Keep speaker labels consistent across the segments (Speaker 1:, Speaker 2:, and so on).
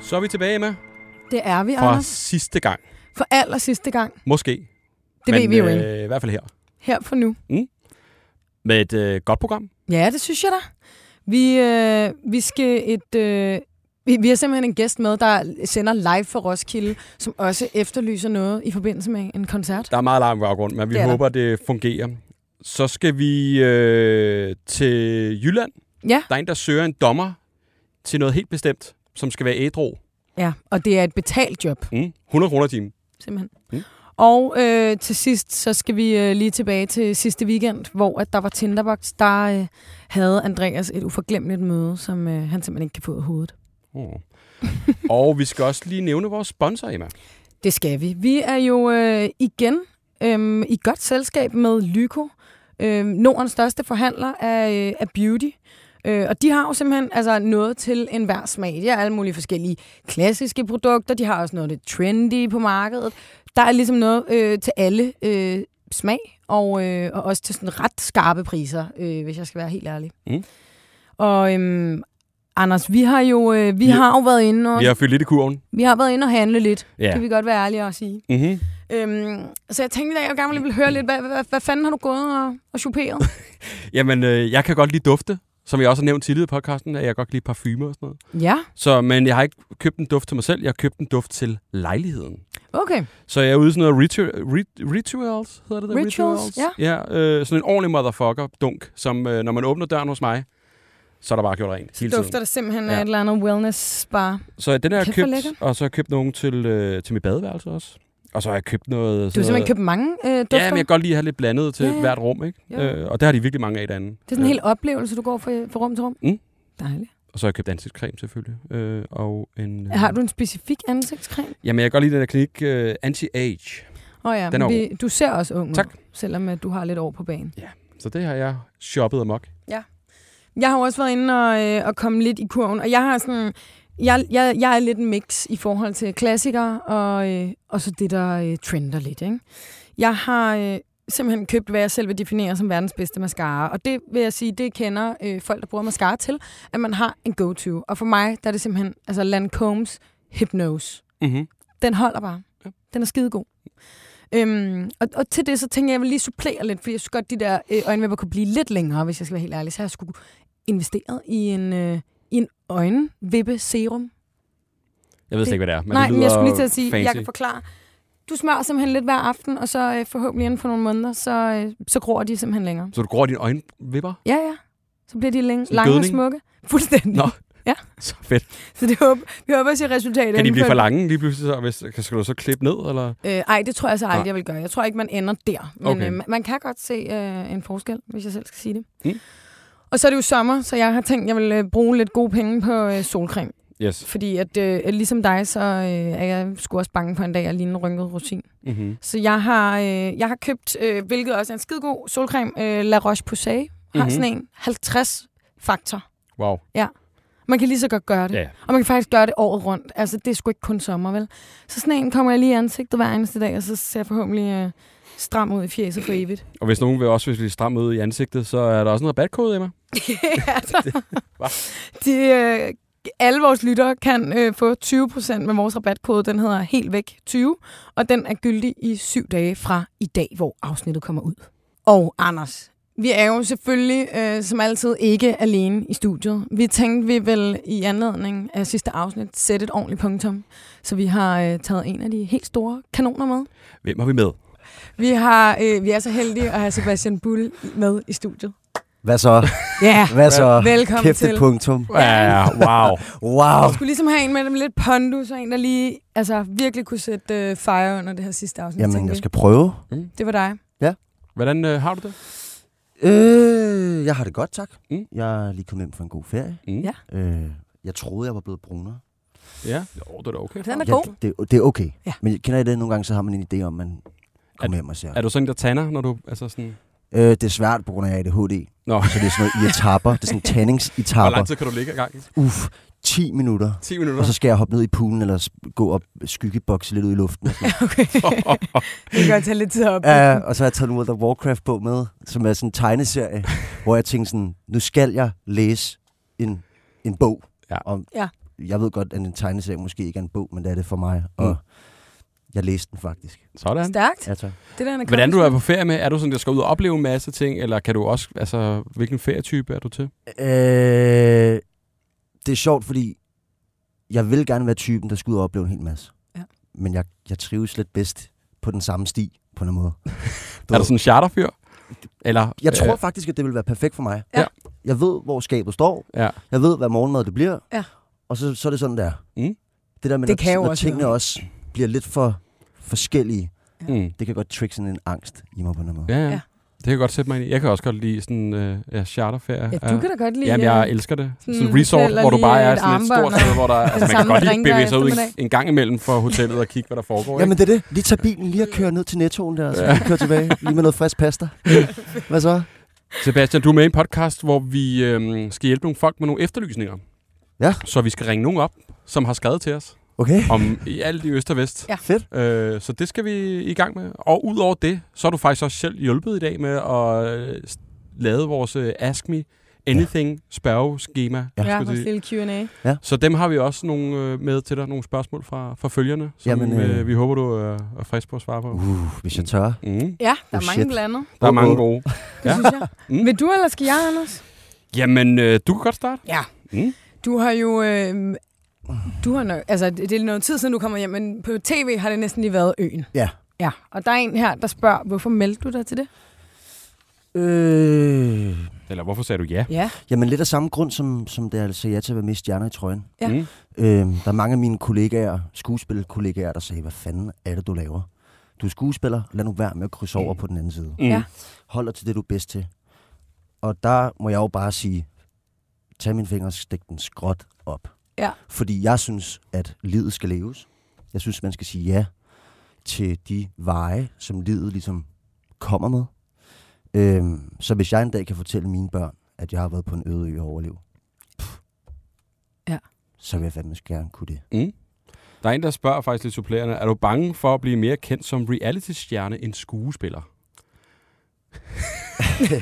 Speaker 1: Så er vi tilbage, med
Speaker 2: Det er vi,
Speaker 1: fra
Speaker 2: Anders.
Speaker 1: sidste gang.
Speaker 2: For aller sidste gang.
Speaker 1: Måske.
Speaker 2: Det
Speaker 1: men,
Speaker 2: ved vi jo ikke.
Speaker 1: Øh, I hvert fald her.
Speaker 2: Her for nu.
Speaker 1: Med et øh, godt program.
Speaker 2: Ja, det synes jeg da. Vi, øh, vi skal et... Øh, vi, vi har simpelthen en gæst med, der sender live for Roskilde, som også efterlyser noget i forbindelse med en koncert.
Speaker 1: Der er meget larm i baggrunden, men vi
Speaker 2: Det er der.
Speaker 1: håber, det fungerer. Så skal vi øh, til Jylland.
Speaker 2: Ja.
Speaker 1: Der er en, der søger en dommer til noget helt bestemt, som skal være ædru.
Speaker 2: Ja, og det er et betalt job,
Speaker 1: Mm. 100 kroner i timen.
Speaker 2: simpelthen.
Speaker 1: Mm.
Speaker 2: Og øh, til sidst, så skal vi øh, lige tilbage til sidste weekend, hvor at der var Tinderbox. Der øh, havde Andreas et uforglemmeligt møde, som øh, han simpelthen ikke kan få ud af hovedet.
Speaker 1: Oh. Og vi skal også lige nævne vores sponsor, Emma.
Speaker 2: Det skal vi. Vi er jo øh, igen øh, i godt selskab med Lyko, øh, Nordens største forhandler af, øh, af beauty. Øh, og de har jo simpelthen altså, noget til enhver smag. De har alle mulige forskellige klassiske produkter. De har også noget lidt trendy på markedet. Der er ligesom noget øh, til alle øh, smag, og, øh, og også til sådan ret skarpe priser, øh, hvis jeg skal være helt ærlig.
Speaker 1: Mm.
Speaker 2: Og øhm, Anders, vi har jo øh, vi
Speaker 1: Vi-
Speaker 2: har jo været inde og,
Speaker 1: Vi har fyldt lidt i kurven.
Speaker 2: vi har været inde og handle lidt.
Speaker 1: Ja.
Speaker 2: Kan vi godt være ærlige og sige.
Speaker 1: Mm-hmm.
Speaker 2: Øhm, så jeg tænkte i dag, jeg gerne ville høre lidt, hvad, hvad, hvad fanden har du gået og, og choperet?
Speaker 1: Jamen, øh, jeg kan godt lide dufte. Som jeg også har nævnt tidligere i podcasten, at jeg godt kan lide parfumer og sådan noget.
Speaker 2: ja,
Speaker 1: Så, men jeg har ikke købt en duft til mig selv, jeg har købt en duft til lejligheden.
Speaker 2: okay.
Speaker 1: Så jeg er ude i sådan noget ritu- rit- rituals, hedder det der?
Speaker 2: Rituals,
Speaker 1: ja øh, sådan en ordentlig motherfucker-dunk, som øh, når man åbner døren hos mig, så er der bare gjort rent hele
Speaker 2: Dufter
Speaker 1: tiden.
Speaker 2: det simpelthen af
Speaker 1: Ja.
Speaker 2: et eller andet wellness spa.
Speaker 1: Så den har jeg
Speaker 2: Kæft, hvor
Speaker 1: købt,
Speaker 2: lækkert.
Speaker 1: og så har jeg købt nogen til, øh, til mit badeværelse også. Og så har jeg købt noget...
Speaker 2: Du har
Speaker 1: sådan
Speaker 2: simpelthen
Speaker 1: noget,
Speaker 2: købt mange øh, dufter.
Speaker 1: Ja, men jeg kan godt lige have lidt blandet til
Speaker 2: Ja, ja.
Speaker 1: hvert rum, ikke?
Speaker 2: Jo.
Speaker 1: Øh, og der har de virkelig mange af derinde.
Speaker 2: Det er sådan en hel oplevelse, du går fra, fra rum til rum.
Speaker 1: Mm.
Speaker 2: Dejligt.
Speaker 1: Og så har jeg købt ansigtscreme selvfølgelig. Øh, og en, øh,
Speaker 2: Har du en specifik ansigtscreme?
Speaker 1: Jamen, jeg kan godt lide den der klinik øh, Anti-Age.
Speaker 2: Åh oh, ja,
Speaker 1: Den er
Speaker 2: vi, du ser også ung ud,
Speaker 1: Tak.
Speaker 2: selvom at du har lidt år på banen.
Speaker 1: Så det har jeg shoppet amok.
Speaker 2: Jeg har jo også været inde og, øh, og komme lidt i kurven, og jeg har sådan... Jeg, jeg, jeg er lidt en mix i forhold til klassikere og, øh, og så det, der øh, trender lidt. Ikke? Jeg har øh, simpelthen købt, hvad jeg selv vil definere som verdens bedste mascara, og det vil jeg sige, det kender øh, folk, der bruger mascara til, at man har en go-to. Og for mig, der er det simpelthen altså Lancome's Hypnose
Speaker 1: Mm-hmm.
Speaker 2: den holder bare.
Speaker 1: Ja.
Speaker 2: Ja. Den er skidegod. Øhm, og, og til det, så tænker jeg, at jeg vil lige supplere lidt, fordi jeg synes godt, de der øh, øjenvipper kunne blive lidt længere, hvis jeg skal være helt ærlig. Så har jeg skulle investeret i en, øh, i en øjenvippe-serum.
Speaker 1: Jeg ved slet
Speaker 2: Det-
Speaker 1: ikke, hvad det er. Men
Speaker 2: Nej,
Speaker 1: det lyder
Speaker 2: men jeg skulle lige til at sige,
Speaker 1: fancy.
Speaker 2: jeg kan forklare. Du smører simpelthen lidt hver aften, og så øh, forhåbentlig inden for nogle måneder, så, øh, så gror de simpelthen længere.
Speaker 1: Så du gror dine øjenvipper?
Speaker 2: Ja, ja. Så bliver de længe,
Speaker 1: Sådan
Speaker 2: lange og
Speaker 1: gødning?
Speaker 2: smukke. Fuldstændig.
Speaker 1: Nå.
Speaker 2: Nå.
Speaker 1: Så fedt.
Speaker 2: Så det håber, vi håber at se resultatet.
Speaker 1: Kan de
Speaker 2: inden
Speaker 1: blive
Speaker 2: for-
Speaker 1: for lange lige pludselig? Så, hvis, kan- skal du så klippe ned? Eller?
Speaker 2: Øh, ej, det tror jeg så aldrig,
Speaker 1: Nej.
Speaker 2: jeg vil gøre. Jeg tror ikke, man ender der. Men
Speaker 1: Okay.
Speaker 2: okay. øh, man- man kan godt se øh, en forskel, hvis jeg selv skal sige det.
Speaker 1: Mm.
Speaker 2: Og så er det jo sommer, så jeg har tænkt, jeg vil øh, bruge lidt gode penge på øh, solcreme.
Speaker 1: Yes.
Speaker 2: Fordi at, øh, ligesom dig, så øh, er jeg sgu også bange på en dag at ligne en rynket rosin.
Speaker 1: Mm-hmm.
Speaker 2: Så jeg har, øh, jeg har købt, øh, hvilket også er en skidegod solcreme, øh, La Roche-Posay. Har
Speaker 1: Mhm.
Speaker 2: sådan en 50 faktor.
Speaker 1: Wow.
Speaker 2: Man kan lige så godt gøre det.
Speaker 1: Ja.
Speaker 2: Og man kan faktisk gøre det året rundt. Altså, det er sgu ikke kun sommer, vel? Så sådan en kommer jeg lige i ansigtet hver eneste dag, og så ser jeg forhåbentlig øh, stram ud i fjeset for evigt.
Speaker 1: Og hvis nogen vil også hvis vi stramme ud i ansigtet, så er der også en rabatkode, Emma. Hva?
Speaker 2: De, øh, alle vores lyttere kan øh, få 20% med vores rabatkode. Den hedder helt væk 20, og den er gyldig i syv dage fra i dag, hvor afsnittet kommer ud. Og Anders, vi er jo selvfølgelig øh, som altid ikke alene i studiet. Vi tænkte, vi vil i anledning af sidste afsnit sætte et ordentligt punktum, så vi har øh, taget en af de helt store kanoner med.
Speaker 1: Hvem har vi med?
Speaker 2: Vi, har, øh, vi er så heldige at have Sebastian Bull med i studiet.
Speaker 3: Hvad så?
Speaker 2: Ja,
Speaker 3: Hvad så?
Speaker 2: velkommen
Speaker 3: Kæft
Speaker 2: til.
Speaker 3: et punktum.
Speaker 1: Ja, wow.
Speaker 3: Wow.
Speaker 2: Jeg skulle ligesom have en med dem lidt pondus, og en, der lige altså, virkelig kunne sætte øh, fire under det her sidste afsnit.
Speaker 3: Jamen,
Speaker 2: tænkte
Speaker 3: jeg
Speaker 2: vi.
Speaker 3: skal prøve.
Speaker 2: Det var dig.
Speaker 1: Hvordan øh, har du det?
Speaker 3: Øh, jeg har det godt, tak.
Speaker 1: Mm.
Speaker 3: Jeg er lige kommet hjem fra en god ferie.
Speaker 1: Mm.
Speaker 2: Ja.
Speaker 3: Øh, jeg troede, jeg var blevet brunere.
Speaker 1: Ja. Jo, det er da okay.
Speaker 2: Den er
Speaker 3: Ja,
Speaker 2: god.
Speaker 3: det, det er okay.
Speaker 2: Ja.
Speaker 3: Men kender I det? Nogle gange så har man en idé om, man kommer hjem og ser.
Speaker 1: Er du sådan en, der tanner, når du... Altså sådan,
Speaker 3: Øh, det er svært på grund af ADHD.
Speaker 1: Nå.
Speaker 3: Så det er sådan noget i etapper. Det er sådan
Speaker 1: hvor
Speaker 3: tanningsetapper.
Speaker 1: lang tid kan du ligge ad gangen?
Speaker 3: Uff, 10 minutter.
Speaker 1: 10 minutter?
Speaker 3: Og så skal jeg hoppe ned i poolen, eller s- gå op skyggebokse lidt ud i luften. Og, sådan noget.
Speaker 2: Okay. det kan godt tage lidt tid op.
Speaker 3: Ja, og så har jeg taget World of Warcraft på med, som er sådan en tegneserie, hvor jeg tænkte sådan, nu skal jeg læse en, en bog
Speaker 1: Ja.
Speaker 3: om
Speaker 2: Ja.
Speaker 3: jeg ved godt, at en tegneserie måske ikke er en bog, men det er det for mig. Og
Speaker 1: Mm.
Speaker 3: jeg læste den faktisk.
Speaker 1: Sådan.
Speaker 2: Stærkt.
Speaker 3: Ja, tak.
Speaker 2: Det der,
Speaker 1: Hvordan du er på ferie med? Er du sådan, der skal ud og opleve en masse ting, eller kan du også, altså, hvilken ferietype er du til?
Speaker 3: Øh, det er sjovt, fordi jeg vil gerne være typen, der skal ud og opleve en hel masse.
Speaker 2: Ja.
Speaker 3: Men jeg, jeg trives lidt bedst på den samme sti, på en måde.
Speaker 1: Er du sådan en charterfyr? Eller,
Speaker 3: Jeg tror
Speaker 1: Øh,
Speaker 3: faktisk, at det vil være perfekt for mig.
Speaker 1: Ja.
Speaker 3: Jeg ved, hvor skabet står.
Speaker 1: ja.
Speaker 3: Jeg ved, hvad morgenmad det bliver.
Speaker 2: Ja.
Speaker 3: Og så, så er det sådan der.
Speaker 1: Mm.
Speaker 3: Det der med,
Speaker 2: Det
Speaker 3: når,
Speaker 2: kan jo
Speaker 3: når
Speaker 2: også
Speaker 3: tingene
Speaker 2: være.
Speaker 3: også bliver lidt for forskellige,
Speaker 1: Mm.
Speaker 3: det kan godt trigge sådan en angst i mig på en eller anden måde.
Speaker 1: Ja, ja.
Speaker 2: Ja.
Speaker 1: Det kan jeg godt sætte mig ind i. Jeg kan også godt lide sådan øh, ja, charterferie.
Speaker 2: Ja, du kan da godt lide...
Speaker 1: Jamen, jeg
Speaker 2: øh,
Speaker 1: elsker det. Sådan,
Speaker 2: sådan
Speaker 1: sådan resort,
Speaker 2: hotel og
Speaker 1: hvor du
Speaker 2: lige
Speaker 1: bare er
Speaker 2: et
Speaker 1: sådan et
Speaker 2: armbånd
Speaker 1: stort
Speaker 2: og-
Speaker 1: sted, hvor der... Altså, man kan
Speaker 2: samme
Speaker 1: godt lige
Speaker 2: drink hver
Speaker 1: bevæge sig ud en,
Speaker 2: eftermiddag.
Speaker 1: en gang imellem fra hotellet og kigge, hvad der foregår.
Speaker 3: Jamen det er det. Lige tage bilen, lige at køre ned til Nettoen der, og så lige køre tilbage. Lige med noget frisk pasta. Hvad så?
Speaker 1: Sebastian, du er med i en podcast, hvor vi øhm, skal hjælpe nogle folk med nogle efterlysninger.
Speaker 3: Ja.
Speaker 1: Så vi skal ringe nogen op, som har skrevet til os
Speaker 3: Okay.
Speaker 1: om i alt i øst og vest.
Speaker 2: Ja.
Speaker 3: Fedt.
Speaker 1: Øh, så det skal vi i gang med. Og udover det, så er du faktisk også selv hjulpet i dag med at øh, s- lave vores øh, Ask Me Anything spørgeskema.
Speaker 3: Ja,
Speaker 2: Ja,
Speaker 1: skulle
Speaker 2: vores
Speaker 1: det-
Speaker 2: lille Q&A.
Speaker 1: Så dem har vi også nogle øh, med til dig, nogle spørgsmål fra, fra følgerne, som Jamen,
Speaker 3: Jamen,
Speaker 1: øh...
Speaker 3: øh.
Speaker 1: Øh, vi håber, du øh, er frisk på at svare på. Uh.
Speaker 3: Uh, hvis jeg tør.
Speaker 1: Mm.
Speaker 2: Ja, der
Speaker 3: Oh,
Speaker 2: er mange
Speaker 3: shit.
Speaker 2: blandet.
Speaker 1: Der er
Speaker 3: Uh,
Speaker 1: mange
Speaker 3: uh.
Speaker 1: gode.
Speaker 2: Det
Speaker 1: Ja.
Speaker 2: ja. synes jeg.
Speaker 1: Mm.
Speaker 2: Vil du eller skal jeg, Anders?
Speaker 1: Jamen, øh, du kan godt starte.
Speaker 2: Ja.
Speaker 1: Mm.
Speaker 2: Du har jo... Øh, du har nok, altså, det er noget tid siden, du kommer hjem, men på tv har det næsten lige været øen.
Speaker 3: Ja.
Speaker 2: Ja, og der er en her, der spørger, hvorfor meldte du dig til det?
Speaker 3: Øh,
Speaker 1: Eller hvorfor sagde du ja?
Speaker 2: Ja.
Speaker 3: jamen lidt af samme grund, som, som det altså ja til at være mest stjerner i trøjen.
Speaker 2: Ja.
Speaker 1: Mm.
Speaker 3: Øh, der er mange af mine kollegaer, skuespillerkollegaer, der sagde, hvad fanden er det, du laver? Du er skuespiller, lad nu være med at krydse over på den anden side.
Speaker 1: Mm.
Speaker 2: Ja.
Speaker 3: Hold dig til det, du er bedst til. Og der må jeg jo bare sige, tag min finger og stik den skråt op.
Speaker 2: Ja.
Speaker 3: Fordi jeg synes, at livet skal leves. Jeg synes, man skal sige ja til de veje, som livet ligesom kommer med. Øhm, så hvis jeg en dag kan fortælle mine børn, at jeg har været på en øde ø og overlevet, pff,
Speaker 2: Ja.
Speaker 3: så vil jeg fandme gerne kunne det.
Speaker 1: Mm. Der er en, der spørger faktisk lidt supplerende, er du bange for at blive mere kendt som reality-stjerne end skuespiller?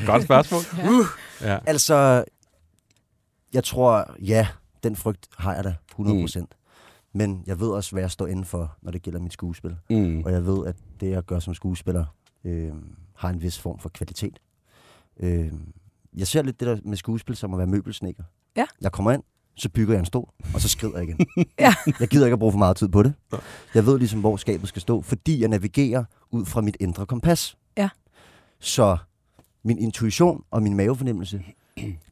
Speaker 1: godt spørgsmål.
Speaker 2: Ja.
Speaker 1: Ja.
Speaker 3: Altså, jeg tror, ja, den frygt har jeg da 100%. Mm. Men jeg ved også, hvad jeg står inden for, når det gælder mit skuespil.
Speaker 1: Mm.
Speaker 3: Og jeg ved, at det, jeg gør som skuespiller, øh, har en vis form for kvalitet. Øh, jeg ser lidt det der med skuespil som at være møbelsnækker.
Speaker 2: Ja.
Speaker 3: Jeg kommer ind, så bygger jeg en stol, og så skrider jeg igen.
Speaker 2: Ja.
Speaker 3: Jeg gider ikke at bruge for meget tid på det.
Speaker 1: Nej.
Speaker 3: Jeg ved ligesom, hvor skabet skal stå, fordi jeg navigerer ud fra mit indre kompas.
Speaker 2: Ja.
Speaker 3: Så min intuition og min mavefornemmelse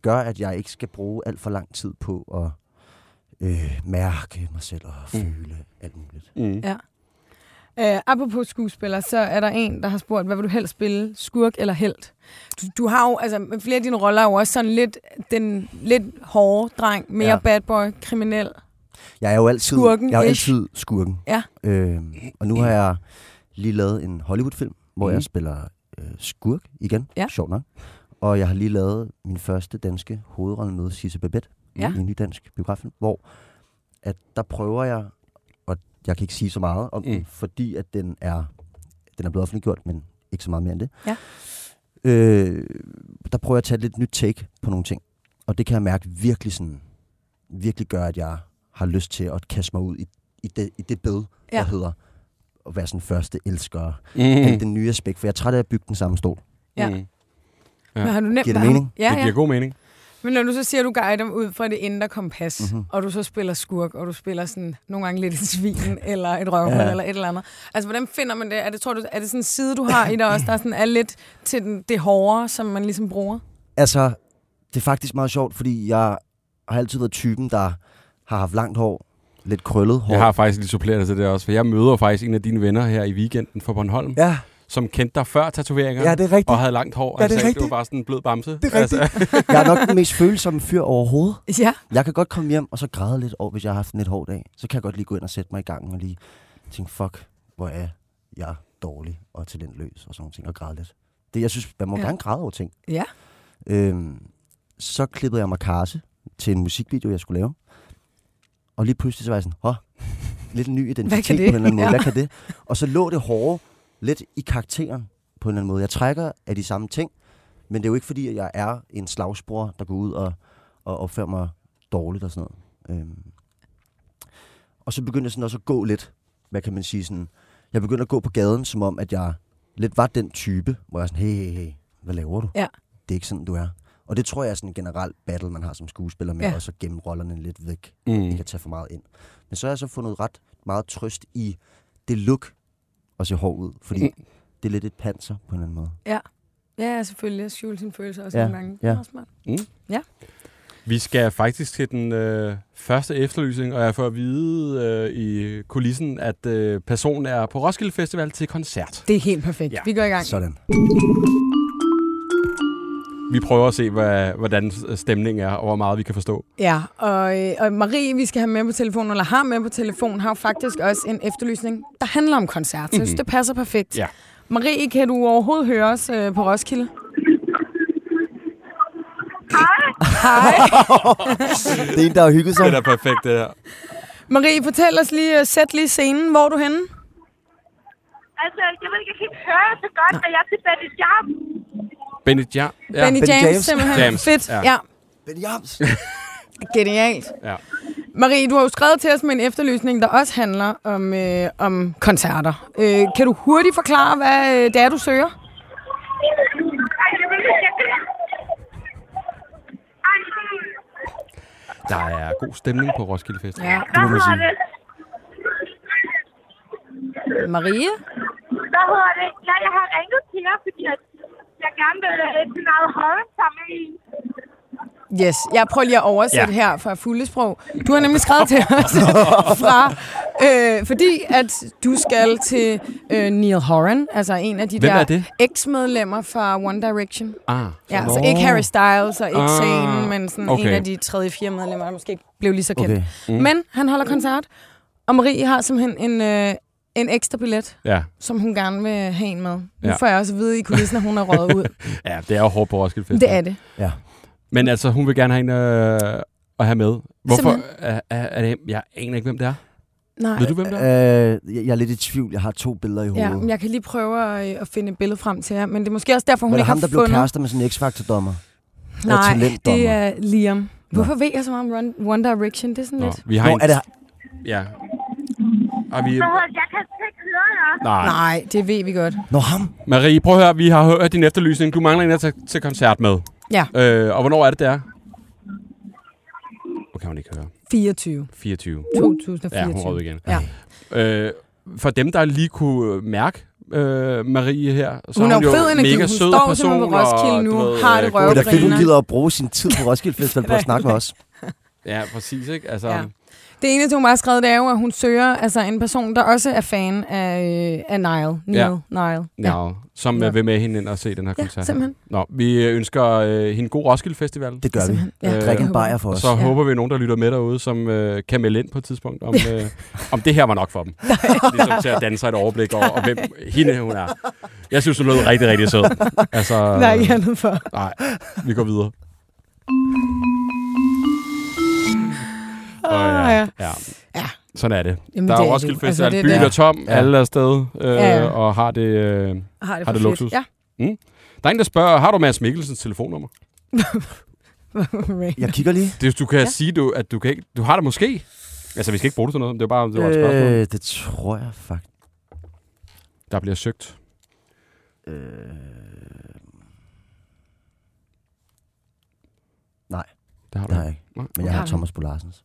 Speaker 3: gør, at jeg ikke skal bruge alt for lang tid på at øh, mærke mig selv og føle alt muligt.
Speaker 1: Mm.
Speaker 2: Ja. Øh, apropos skuespiller, så er der en, der har spurgt, hvad vil du helst spille, skurk eller held? Du, du har jo, altså flere af dine roller er jo også sådan lidt den lidt hårde dreng, mere ja.
Speaker 3: Ja.
Speaker 2: bad boy, kriminel.
Speaker 3: Jeg er jo altid
Speaker 2: Skurken,
Speaker 3: skurken, jeg er jo
Speaker 2: ish.
Speaker 3: altid skurken.
Speaker 2: Ja.
Speaker 3: Øhm, og nu har jeg lige lavet en Hollywood-film, hvor
Speaker 1: Mhm.
Speaker 3: mm. jeg spiller øh, skurk igen.
Speaker 2: Ja.
Speaker 3: Sjovt nok. Og jeg har lige lavet min første danske hovedrolle med Sisse Babette
Speaker 2: Ja.
Speaker 3: i en ny dansk biograffilm, hvor at der prøver jeg, og jeg kan ikke sige så meget om mm.
Speaker 1: Mm.
Speaker 3: den, fordi at den er, den er blevet offentliggjort, men ikke så meget mere end det.
Speaker 2: Ja.
Speaker 3: Øh, der prøver jeg at tage et lidt nyt take på nogle ting. Og det kan jeg mærke virkelig sådan, virkelig gør, at jeg har lyst til at kaste mig ud i, i, det, i det bed,
Speaker 2: Ja.
Speaker 3: ja. der hedder at være sådan første elsker. Mm. Alt
Speaker 1: Mm.
Speaker 3: det nye aspekt, for jeg er træt af at bygge den samme stol.
Speaker 2: Ja.
Speaker 1: Mm. Ja.
Speaker 2: Ja. Men har du nemt,
Speaker 3: Giver det
Speaker 2: har-
Speaker 3: mening?
Speaker 2: Ja,
Speaker 1: Det
Speaker 2: ja.
Speaker 1: giver god mening.
Speaker 2: Men når du så siger, at du guider dem ud fra det indre kompas, mm-hmm. og du så spiller skurk, og du spiller sådan nogle gange lidt et svin, eller et røvhul, ja.
Speaker 3: Ja.
Speaker 2: eller et eller andet. Altså, hvordan finder man det? Er det, tror du, er det sådan en side, du har i dig også, der sådan er lidt til den, det hårde, som man ligesom bruger?
Speaker 3: Altså, det er faktisk meget sjovt, fordi jeg har altid været typen, der har haft langt hår, lidt krøllet hår.
Speaker 1: Jeg har faktisk lidt suppleret til det også, for jeg møder faktisk en af dine venner her i weekenden fra Bornholm, ja.
Speaker 3: Ja,
Speaker 1: som kendte dig før tatoveringer
Speaker 3: ja, det er rigtigt.
Speaker 1: og havde langt hår.
Speaker 3: Ja,
Speaker 1: Han
Speaker 3: det er
Speaker 1: sagde, Du
Speaker 3: rigtigt.
Speaker 1: var bare sådan en blød bamse.
Speaker 3: Det er rigtigt. Jeg er nok den mest følsomme fyr overhovedet.
Speaker 2: Ja.
Speaker 3: Jeg kan godt komme hjem og så græde lidt over, hvis jeg har haft en lidt hård dag. Så kan jeg godt lige gå ind og sætte mig i gangen og lige tænke, fuck, hvor er jeg dårlig og talentløs og sådan nogle ting, og græde lidt. Det, jeg synes, man må
Speaker 2: Ja.
Speaker 3: ja. gerne græde over ting.
Speaker 2: Ja.
Speaker 3: Øhm, så klippede jeg mig karse til en musikvideo, jeg skulle lave. Og lige pludselig så var jeg sådan, hå, lidt ny identitet
Speaker 2: kan
Speaker 3: på
Speaker 2: det?"
Speaker 3: en eller anden måde.
Speaker 2: Ja.
Speaker 3: Hvad kan det? Og så lå det hårde lidt i karakteren på en eller anden måde. Jeg trækker af de samme ting, men det er jo ikke fordi, at jeg er en slagsbror, der går ud og, og opfører mig dårligt og sådan noget. Øhm, Og så begyndte jeg sådan også at gå lidt, hvad kan man sige, sådan, jeg begyndte at gå på gaden, som om, at jeg lidt var den type, hvor jeg er sådan, hey, hey, hey, hvad laver du?
Speaker 2: Ja.
Speaker 3: Det er ikke sådan, du er. Og det tror jeg er sådan en generel battle, man har som skuespiller med,
Speaker 2: Ja.
Speaker 3: ja. og så gemme rollerne lidt væk
Speaker 1: Mm.
Speaker 3: ikke at tage for meget ind. Men så har jeg så fundet ret meget trøst i det look og se hård ud, fordi
Speaker 1: Mm.
Speaker 3: mm. det er lidt et panser på en eller anden måde.
Speaker 2: Ja, selvfølgelig. Jeg skjuler sine følelser også
Speaker 3: Ja,
Speaker 2: nogle gange.
Speaker 3: ja.
Speaker 2: Det er også smart.
Speaker 1: Vi skal faktisk til den øh, første efterlysning, og jeg får at vide øh, i kulissen, at øh, personen er på Roskilde Festival til koncert.
Speaker 2: Det er helt perfekt.
Speaker 1: Ja.
Speaker 2: Vi går i gang.
Speaker 3: Sådan.
Speaker 1: Vi prøver at se, hvad, hvordan stemningen er, og hvor meget vi kan forstå.
Speaker 2: Ja, og, øh, og Marie, vi skal have med på telefonen, eller har med på telefonen, har jo faktisk også en efterlysning, der handler om koncert. Så jeg synes,
Speaker 1: Mhm.
Speaker 2: det passer perfekt.
Speaker 1: Ja.
Speaker 2: Marie, kan du overhovedet høre os øh, på Roskilde? Hej. Hej.
Speaker 3: Det er en, der har hygget sig.
Speaker 1: Det er da perfekt, det der.
Speaker 2: Marie, fortæl os lige, øh, sæt lige scenen. Hvor er du henne?
Speaker 4: Altså, jeg ved ikke, jeg kan ikke høre så godt, at jeg er til Benny Jam.
Speaker 1: Benny, ja. ja.
Speaker 2: Benny
Speaker 3: Benny
Speaker 2: James,
Speaker 3: James.
Speaker 2: simpelthen.
Speaker 1: James,
Speaker 2: Fedt.
Speaker 1: ja.
Speaker 2: Ja.
Speaker 3: Ben Jams.
Speaker 2: Genialt.
Speaker 1: Ja.
Speaker 2: Marie, du har jo skrevet til os med en efterlysning, der også handler om, øh, om koncerter. Øh, kan du hurtigt forklare, hvad øh, det er, du søger?
Speaker 4: Ej, jeg ved ikke, jeg kan... Ej, hmm,
Speaker 1: Der er god stemning på Roskilde Festival.
Speaker 2: Ja.
Speaker 4: hvad hedder det?
Speaker 2: Marie?
Speaker 4: Hvad hedder det? Ja, jeg har ringet til jer, fordi at jeg gerne vil øh, til noget højere sammen i.
Speaker 2: Yes, jeg prøver lige at oversætte ja. her fra fulde sprog. Du har nemlig skrevet til os fra, øh, fordi at du skal til øh, Neil Horan, altså en af de
Speaker 1: Hvem er
Speaker 2: der
Speaker 1: det?
Speaker 2: ex-medlemmer fra One Direction.
Speaker 1: Ah,
Speaker 2: Ja,
Speaker 1: sådan.
Speaker 2: så ikke Harry Styles og ikke
Speaker 1: Ah,
Speaker 2: Zayn, men sådan okay. en
Speaker 1: okay.
Speaker 2: af de tredje fire medlemmer, der måske ikke blev lige så kendt. Okay.
Speaker 3: Okay.
Speaker 2: Mm. Men han holder koncert, og Marie har simpelthen en, øh, en ekstra billet,
Speaker 1: Ja.
Speaker 2: som hun gerne vil have en med. Nu
Speaker 1: Ja.
Speaker 2: får jeg også at vide i kulissen, at hun er røget ud.
Speaker 1: ja, det er jo hårdt på Roskilde Festival.
Speaker 2: Det er det.
Speaker 3: Ja.
Speaker 1: Men altså, hun vil gerne have en øh, at have med. Hvorfor
Speaker 2: Simpelthen.
Speaker 1: er, er, er det? Jeg aner ikke, hvem det er.
Speaker 2: Nej.
Speaker 1: Ved du, hvem det er?
Speaker 3: Øh, jeg jeg er lidt i tvivl. Jeg har to billeder i
Speaker 2: Ja,
Speaker 3: hovedet.
Speaker 2: men jeg kan lige prøve at, øh, at finde et billede frem til jer, men det er måske også derfor, hun
Speaker 3: Var det
Speaker 2: ikke
Speaker 3: ham,
Speaker 2: har
Speaker 3: der blev
Speaker 2: fundet...
Speaker 3: kærester med sådan en X-Factor-dommer? eller
Speaker 2: Nej,
Speaker 3: talentdommer?
Speaker 2: det er Liam. Hvorfor ved jeg så meget om Run- One Direction? Det er sådan
Speaker 1: Nå,
Speaker 2: øh, lidt...
Speaker 1: vi har
Speaker 3: Nå,
Speaker 1: en...
Speaker 3: er det,
Speaker 1: Ja. Er vi...
Speaker 4: Hvad hedder det? Jeg kan slet ikke høre jer.
Speaker 1: Nej.
Speaker 2: Nej, det ved vi godt.
Speaker 3: Nå, ham?
Speaker 1: Marie, prøv at høre, vi har hørt din efterlysning. Du mangler en at tage til koncert med.
Speaker 2: Ja.
Speaker 1: Øh, og hvornår er det, det er? Nu kan hun ikke høre.
Speaker 2: 24.
Speaker 1: 24.
Speaker 2: 2024.
Speaker 1: Ja, hun råd igen.
Speaker 2: Ja.
Speaker 1: Øh, for dem, der lige kunne øh, mærke øh, Marie her, så
Speaker 2: Hun er
Speaker 1: hun
Speaker 2: jo fed
Speaker 1: jo
Speaker 2: energi.
Speaker 1: mega
Speaker 2: Hun
Speaker 1: sød
Speaker 2: står
Speaker 1: person.
Speaker 2: simpelthen på Roskilde
Speaker 1: og,
Speaker 2: nu,
Speaker 1: du ved,
Speaker 2: har det
Speaker 1: øh,
Speaker 2: røv.
Speaker 1: god-
Speaker 3: Det er da fedt, hun
Speaker 2: griner.
Speaker 3: gider at bruge sin tid på Roskilde Festival på at snakke med os.
Speaker 1: Ja, præcis, ikke? Altså,
Speaker 2: Ja. Det eneste, hun bare har skrevet, det er jo, at hun søger altså, en person, der også er fan af, øh, af Nile. Neil.
Speaker 1: Ja.
Speaker 2: Nile.
Speaker 1: ja. Nå, som
Speaker 2: Nå.
Speaker 1: øh, vil med hende ind og se den her
Speaker 2: ja
Speaker 1: koncert.
Speaker 2: simpelthen.
Speaker 1: Nå, vi øh, ønsker øh, hende god Roskilde Festival.
Speaker 3: Det gør vi.
Speaker 2: simpelthen. Ja,
Speaker 1: Øh,
Speaker 3: Drik
Speaker 2: det
Speaker 3: en
Speaker 2: håber jeg.
Speaker 3: bajer for os.
Speaker 1: Så
Speaker 2: Ja.
Speaker 1: håber vi, at nogen, der lytter med derude, som øh, kan melde ind på et tidspunkt, om, øh, om det her var nok for dem. ligesom til at danne sig et overblik over, og hvem hende hun er. Jeg synes, hun lød rigtig, rigtig sød. Altså,
Speaker 2: Der er ikke andet for.
Speaker 1: nej, vi går videre. Og
Speaker 2: Ah,
Speaker 1: ja,
Speaker 2: ja.
Speaker 1: ja.
Speaker 2: Ja.
Speaker 1: Sådan er det.
Speaker 2: Jamen,
Speaker 1: der er
Speaker 2: det
Speaker 1: jo
Speaker 2: jo.
Speaker 1: Roskilde
Speaker 2: Altså,
Speaker 1: Festival,
Speaker 2: det er
Speaker 1: byen
Speaker 2: der.
Speaker 1: er tom,
Speaker 3: Ja.
Speaker 1: alle er afsted, øh,
Speaker 2: Ja.
Speaker 1: og har det... Øh...
Speaker 2: Har det,
Speaker 1: Har
Speaker 2: for
Speaker 1: det
Speaker 2: fedt.
Speaker 1: luksus?
Speaker 2: Ja.
Speaker 1: Der er en, der spørger, har du Mads Mikkelsens telefonnummer?
Speaker 3: Jeg kigger lige.
Speaker 1: Det, du kan
Speaker 2: Ja.
Speaker 1: ja. sige, du, at du, kan ikke, du har det måske. Altså, vi skal ikke bruge det til noget, det var bare det var et spørgsmål.
Speaker 3: Øh, det tror jeg faktisk.
Speaker 1: der bliver søgt.
Speaker 3: Øh,
Speaker 1: Det har du.
Speaker 3: det har jeg ikke. Men jeg har Thomas Bolarsens.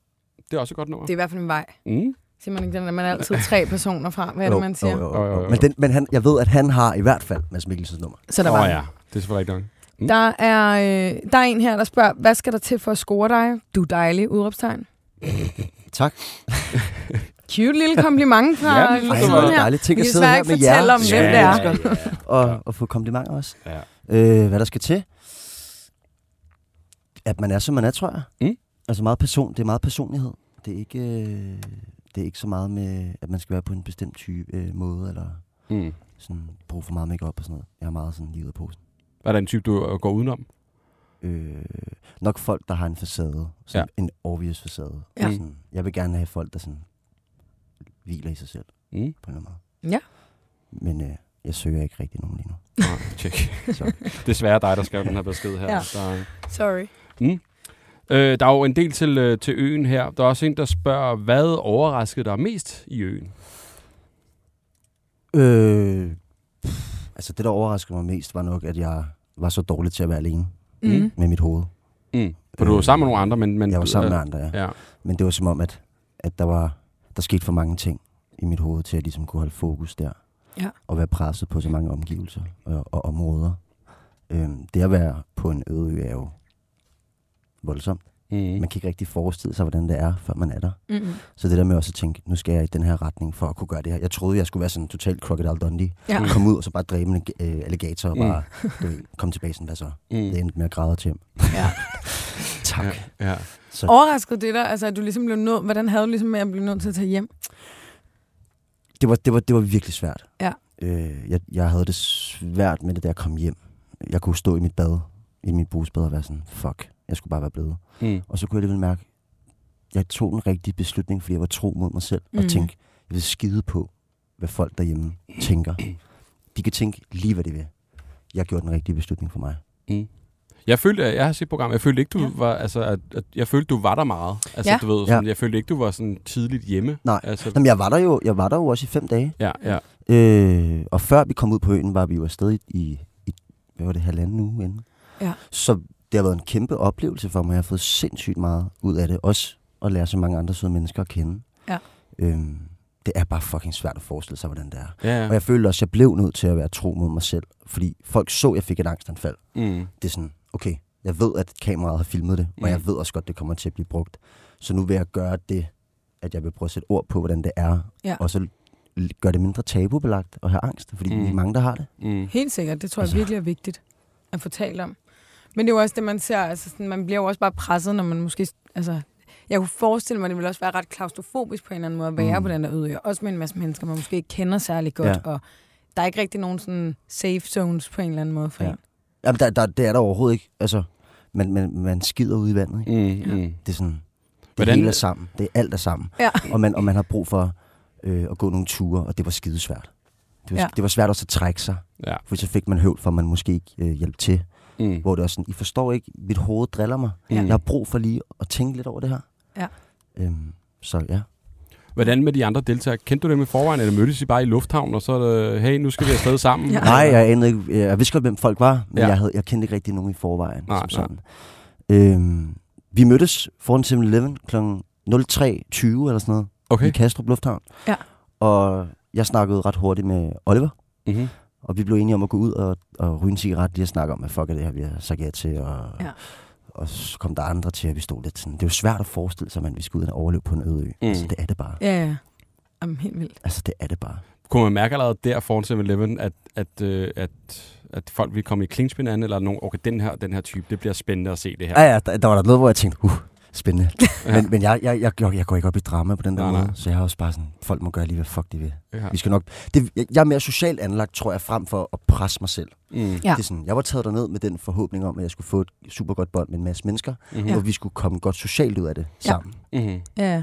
Speaker 1: Det er også et godt nummer.
Speaker 2: Det er i hvert fald en vej.
Speaker 1: Mm.
Speaker 2: Siger man ikke den, at man er altid tre personer fra? Hvad er
Speaker 3: Jo,
Speaker 2: det, man siger?
Speaker 3: jo, jo,
Speaker 1: Jo, jo,
Speaker 3: jo.
Speaker 1: jo.
Speaker 3: Men, den, men han, jeg ved, at han har i hvert fald Mads Mikkelsens nummer.
Speaker 2: Så der
Speaker 1: Åh
Speaker 2: var
Speaker 1: oh,
Speaker 2: den.
Speaker 1: ja, det er selvfølgelig rigtigt nok.
Speaker 2: Der er, øh, der er en her, der spørger, hvad skal der til for at score dig? Du er dejlig, udråbstegn.
Speaker 3: Tak.
Speaker 2: Cute lille kompliment fra
Speaker 1: Ja,
Speaker 2: ja,
Speaker 1: det lyder
Speaker 3: Ej,
Speaker 1: Sådan
Speaker 3: hvor er
Speaker 2: lytteren
Speaker 3: det
Speaker 2: her.
Speaker 3: dejligt. Tænk
Speaker 2: Vi
Speaker 3: at
Speaker 2: kan
Speaker 3: sidde
Speaker 2: desværre
Speaker 3: her
Speaker 2: ikke
Speaker 3: med
Speaker 2: fortælle
Speaker 3: jer,
Speaker 2: om,
Speaker 3: som
Speaker 2: hvem det er.
Speaker 3: elsker, og, og få komplimenter også.
Speaker 1: Ja.
Speaker 3: Øh, hvad der skal til? At man er, som man er, tror jeg.
Speaker 1: Mm.
Speaker 3: Altså meget person, det er meget personlighed. Det er ikke, øh, det er ikke så meget med, at man skal være på en bestemt type øh, måde, eller
Speaker 1: Mm.
Speaker 3: sådan, bruge for meget makeup og sådan noget. Jeg er meget sådan livet på.
Speaker 1: Hvad er der en type, du øh, går udenom?
Speaker 3: Øh, nok folk, der har en facade. Sådan ja. En obvious facade.
Speaker 2: Ja.
Speaker 3: Sådan, jeg vil gerne have folk, der sådan, hviler i sig selv
Speaker 1: Mm.
Speaker 3: på en eller anden
Speaker 2: Ja.
Speaker 3: måde. Men øh, jeg søger ikke rigtig nogen lige nu.
Speaker 1: Nej, tjek.
Speaker 3: Sorry.
Speaker 1: Desværre dig, der skrev den her besked her.
Speaker 2: Ja.
Speaker 1: Der,
Speaker 2: Sorry.
Speaker 1: Øh, der er jo en del til, øh, til øen her. Der er også en, der spørger, hvad overraskede dig mest i øen?
Speaker 3: Øh, pff, altså det, der overraskede mig mest, var nok, at jeg var så dårlig til at være alene
Speaker 2: Mm.
Speaker 3: med mit hoved.
Speaker 1: Mm. For du var
Speaker 3: Øh,
Speaker 1: sammen med nogle andre, men... men
Speaker 3: Jeg var sammen med
Speaker 1: øh,
Speaker 3: andre, ja.
Speaker 1: Ja.
Speaker 3: Men det var som om, at, at der, var, der skete for mange ting i mit hoved, til at ligesom kunne holde fokus der.
Speaker 2: Ja.
Speaker 3: Og være presset på så mange omgivelser og, og områder. Øhm, det at være på en øde ø er jo voldsomt.
Speaker 1: Mm.
Speaker 3: Man kan ikke rigtig forestille sig, hvordan det er, før man er der.
Speaker 2: Mm.
Speaker 3: Så det der med også at tænke, nu skal jeg i den her retning for at kunne gøre det her. Jeg troede, jeg skulle være sådan en total Crocodile Dundee.
Speaker 2: Ja.
Speaker 1: Mm.
Speaker 3: Kom ud og så bare dræbe en øh, alligator og
Speaker 1: Mm.
Speaker 3: bare du ved, komme tilbage sådan, hvad så? Det
Speaker 1: Mm.
Speaker 3: endte med at græde til hjem.
Speaker 2: Ja.
Speaker 3: tak. Ja.
Speaker 1: Ja.
Speaker 3: Så
Speaker 2: Overraskede det dig, altså, at du ligesom blev nødt, hvordan havde du ligesom med at blive nødt til at tage hjem?
Speaker 3: det var, det var, det var virkelig svært.
Speaker 2: Ja.
Speaker 3: Øh, jeg, jeg havde det svært med det, da jeg kom hjem. Jeg kunne stå i mit bad, i min brusbad og være sådan, fuck, jeg skulle bare være blevet.
Speaker 1: Mm.
Speaker 3: Og så kunne jeg alligevel mærke, jeg tog den rigtige beslutning, fordi jeg var tro mod mig selv, mm.
Speaker 2: Mm.
Speaker 3: og tænkte, jeg vil skide på, hvad folk derhjemme tænker. De kan tænke lige, hvad de vil. Jeg gjorde den rigtige beslutning for mig.
Speaker 1: Jeg følte, at jeg har set programmet, jeg følte ikke, du
Speaker 2: Ja.
Speaker 1: ja. var, altså, at, at, jeg følte, du var der meget. Altså,
Speaker 2: Ja.
Speaker 1: du ved, sådan, jeg følte ikke, du var sådan tidligt hjemme.
Speaker 3: Nej.
Speaker 1: Altså,
Speaker 3: Jamen, jeg var der jo, jeg var der jo også i fem dage.
Speaker 1: ja, ja.
Speaker 3: Øh, og før vi kom ud på øen, var vi jo afsted i, i, i hvad var det, halvanden uge inden.
Speaker 2: Ja.
Speaker 3: Så det har været en kæmpe oplevelse for mig. Jeg har fået sindssygt meget ud af det. Også at lære så mange andre søde mennesker at kende.
Speaker 2: Ja.
Speaker 3: Øhm, det er bare fucking svært at forestille sig, hvordan det er.
Speaker 1: Ja,
Speaker 3: Og
Speaker 1: ja.
Speaker 3: jeg følte også, at jeg blev nødt til at være tro mod mig selv. Fordi folk så, at jeg fik et angstanfald.
Speaker 1: Mm.
Speaker 3: Det er sådan, okay, jeg ved, at kameraet har filmet det, og
Speaker 1: Mm.
Speaker 3: jeg ved også godt, det kommer til at blive brugt. Så nu vil jeg gøre det, at jeg vil prøve at sætte ord på, hvordan det er.
Speaker 2: Ja.
Speaker 3: Og så l- gør det mindre tabubelagt at have angst, fordi
Speaker 1: Mm.
Speaker 3: mm. vi er mange, der har det.
Speaker 1: Mm.
Speaker 2: Helt sikkert, det tror jeg
Speaker 3: Altså-
Speaker 2: virkelig er vigtigt at få talt om. Men det er jo også det, man ser, altså sådan, man bliver jo også bare presset, når man måske, altså, jeg kunne forestille mig, at det ville også være ret klaustrofobisk på en eller anden måde at være mm.
Speaker 3: Mm.
Speaker 2: på den der øde ø, også med en masse mennesker, man måske ikke kender særlig godt, ja.
Speaker 3: Ja.
Speaker 2: og der er ikke rigtig nogen sådan safe zones på en eller anden måde for ja.
Speaker 3: Ja.
Speaker 2: en.
Speaker 3: Jamen, der, der, det er der overhovedet ikke. Altså, man, man, man skider ud i vandet, ikke?
Speaker 1: Mm. Mm.
Speaker 3: Det er sådan, det
Speaker 1: Hvordan-
Speaker 3: Hvordan? hele er sammen. Det er alt er sammen.
Speaker 2: Ja.
Speaker 3: Og, man, og man har brug for øh, at gå nogle ture, og det var skidesvært. Det var,
Speaker 2: Ja.
Speaker 3: ja. det var svært også at trække sig,
Speaker 1: Ja.
Speaker 3: for så fik man høvl for, at man måske ikke øh, hjalp til.
Speaker 1: Mm.
Speaker 3: hvor det er sådan, I forstår ikke, mit hoved driller mig.
Speaker 1: Ja.
Speaker 3: Ja. Jeg har brug for lige at tænke lidt over det her.
Speaker 2: Ja.
Speaker 3: Øhm, så ja.
Speaker 1: Hvordan med de andre deltagere? Kendte du dem i forvejen, eller mødtes I bare i lufthavnen, og så er det, hey, nu skal vi afsted sammen?
Speaker 2: Ja.
Speaker 3: Nej, jeg anede ikke, øh, jeg vidste godt, hvem folk var, men
Speaker 1: Ja.
Speaker 3: ja. jeg, havde, jeg kendte ikke rigtig nogen i forvejen.
Speaker 1: Nej,
Speaker 3: Nej, som sådan. Øhm, vi mødtes foran 7-Eleven kl. 03.20 eller sådan noget, okay. i
Speaker 1: Okay.
Speaker 3: Kastrup Lufthavn.
Speaker 2: Ja.
Speaker 3: Og jeg snakkede ret hurtigt med Oliver,
Speaker 1: Mm-hmm.
Speaker 3: og vi blev enige om at gå ud og, og ryge en cigaret, lige at snakke om, hvad fuck er det her, vi har sagt ja til, og,
Speaker 2: Ja.
Speaker 3: ja. og så kom der andre til, at vi stod lidt sådan, det er jo svært at forestille sig, at vi skal ud og overleve på en øde ø.
Speaker 1: Mm.
Speaker 3: Mm. Altså, det er det bare.
Speaker 2: Ja, ja. Jamen, helt vildt.
Speaker 3: Altså, det er det bare.
Speaker 1: Kunne man mærke allerede der foran 7-Eleven, at, at, øh, at, at folk ville komme i clinch med hinanden, eller nogen, okay, den her, den her type, det bliver spændende at se det her.
Speaker 3: Ja, ja, der, der var der noget, hvor jeg tænkte, uh, spændende. ja. Men, men jeg, jeg, jeg, jeg, jeg går ikke op i drama på den der
Speaker 1: Nej,
Speaker 3: nej, måde,
Speaker 1: nej.
Speaker 3: nej. så jeg har også bare sådan, folk må gøre lige, hvad fuck de vil.
Speaker 1: Ja.
Speaker 3: Vi skal nok... Det, jeg, jeg er mere socialt anlagt, tror jeg, frem for at presse mig selv.
Speaker 1: Mm.
Speaker 2: Ja.
Speaker 3: Det er sådan, jeg var taget derned med den forhåbning om, at jeg skulle få et super godt bånd med en masse mennesker,
Speaker 1: Mm-hmm.
Speaker 3: ja. og vi skulle komme godt socialt ud af det
Speaker 2: Ja.
Speaker 3: sammen.
Speaker 1: Mm-hmm.
Speaker 2: Ja.
Speaker 1: Ja.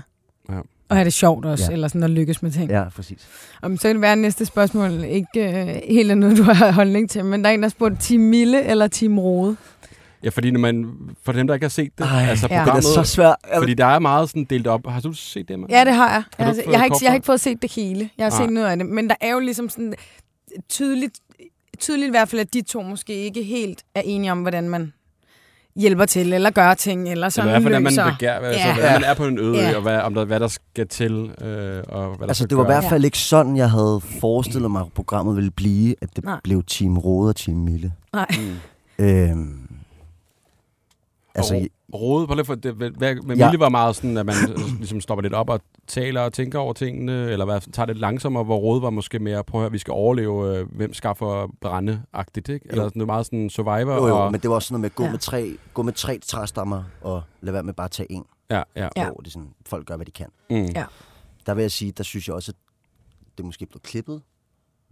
Speaker 2: ja. Og have det sjovt også, ja.
Speaker 3: Ja.
Speaker 2: eller sådan at lykkes med ting.
Speaker 3: Ja, præcis.
Speaker 2: Om så kan det være, at næste spørgsmål ikke øh, helt er noget, du har holdning til, men der er en, der spurgte Team Mille eller Team Rode.
Speaker 1: Ja, fordi når man, for dem, der ikke har set det,
Speaker 3: Ej,
Speaker 1: altså
Speaker 2: Ja.
Speaker 3: Det er
Speaker 1: programmet,
Speaker 3: så svært. Jeg
Speaker 1: fordi der er meget sådan delt op. Har du set det, mand?
Speaker 2: Ja, det har jeg.
Speaker 1: du
Speaker 2: jeg, har,
Speaker 1: ikke fået
Speaker 2: jeg, har ikke,
Speaker 1: kort
Speaker 2: jeg har
Speaker 1: fra?
Speaker 2: ikke fået set det hele. Jeg har
Speaker 1: Nej.
Speaker 2: set noget af det. Men der er jo ligesom sådan tydeligt, tydeligt i hvert fald, at de to måske ikke helt er enige om, hvordan man hjælper til, eller gør ting, eller
Speaker 1: Så eller i
Speaker 2: sådan
Speaker 1: hvert fald, at man
Speaker 2: løser.
Speaker 1: begær, altså,
Speaker 2: Ja.
Speaker 1: hvordan man er på en øde ø,
Speaker 2: Ja.
Speaker 1: og hvad, om der, hvad der skal til, øh, og hvad der
Speaker 3: Altså,
Speaker 1: skal
Speaker 3: det var i
Speaker 1: gøres.
Speaker 3: hvert fald ikke sådan, jeg havde forestillet mig, at programmet ville blive, at det
Speaker 2: Nej.
Speaker 3: Nej. blev Team Rode og Team Mille.
Speaker 2: Nej.
Speaker 1: Mm.
Speaker 3: Øhm, altså,
Speaker 1: og Rode, prøv lige for, det, hvad, hvad, med
Speaker 3: Ja.
Speaker 1: Mille var meget sådan, at man ligesom stopper lidt op og taler og tænker over tingene, eller hvad, tager det langsommere, hvor Rode var måske mere, prøv at høre, vi skal overleve, øh, hvem skaffer brænde-agtigt, ikke? Eller sådan noget meget sådan survivor.
Speaker 3: jo, jo,
Speaker 1: og,
Speaker 3: men det var også sådan noget med at gå,
Speaker 2: Ja.
Speaker 3: ja. med, tre, gå med tre træstammer og lade være med bare at tage en,
Speaker 1: ja, ja.
Speaker 2: Ja.
Speaker 3: ja. hvor det er sådan, folk gør, hvad de kan.
Speaker 1: Mm.
Speaker 2: Ja.
Speaker 3: Der vil jeg sige, der synes jeg også, at det måske blev klippet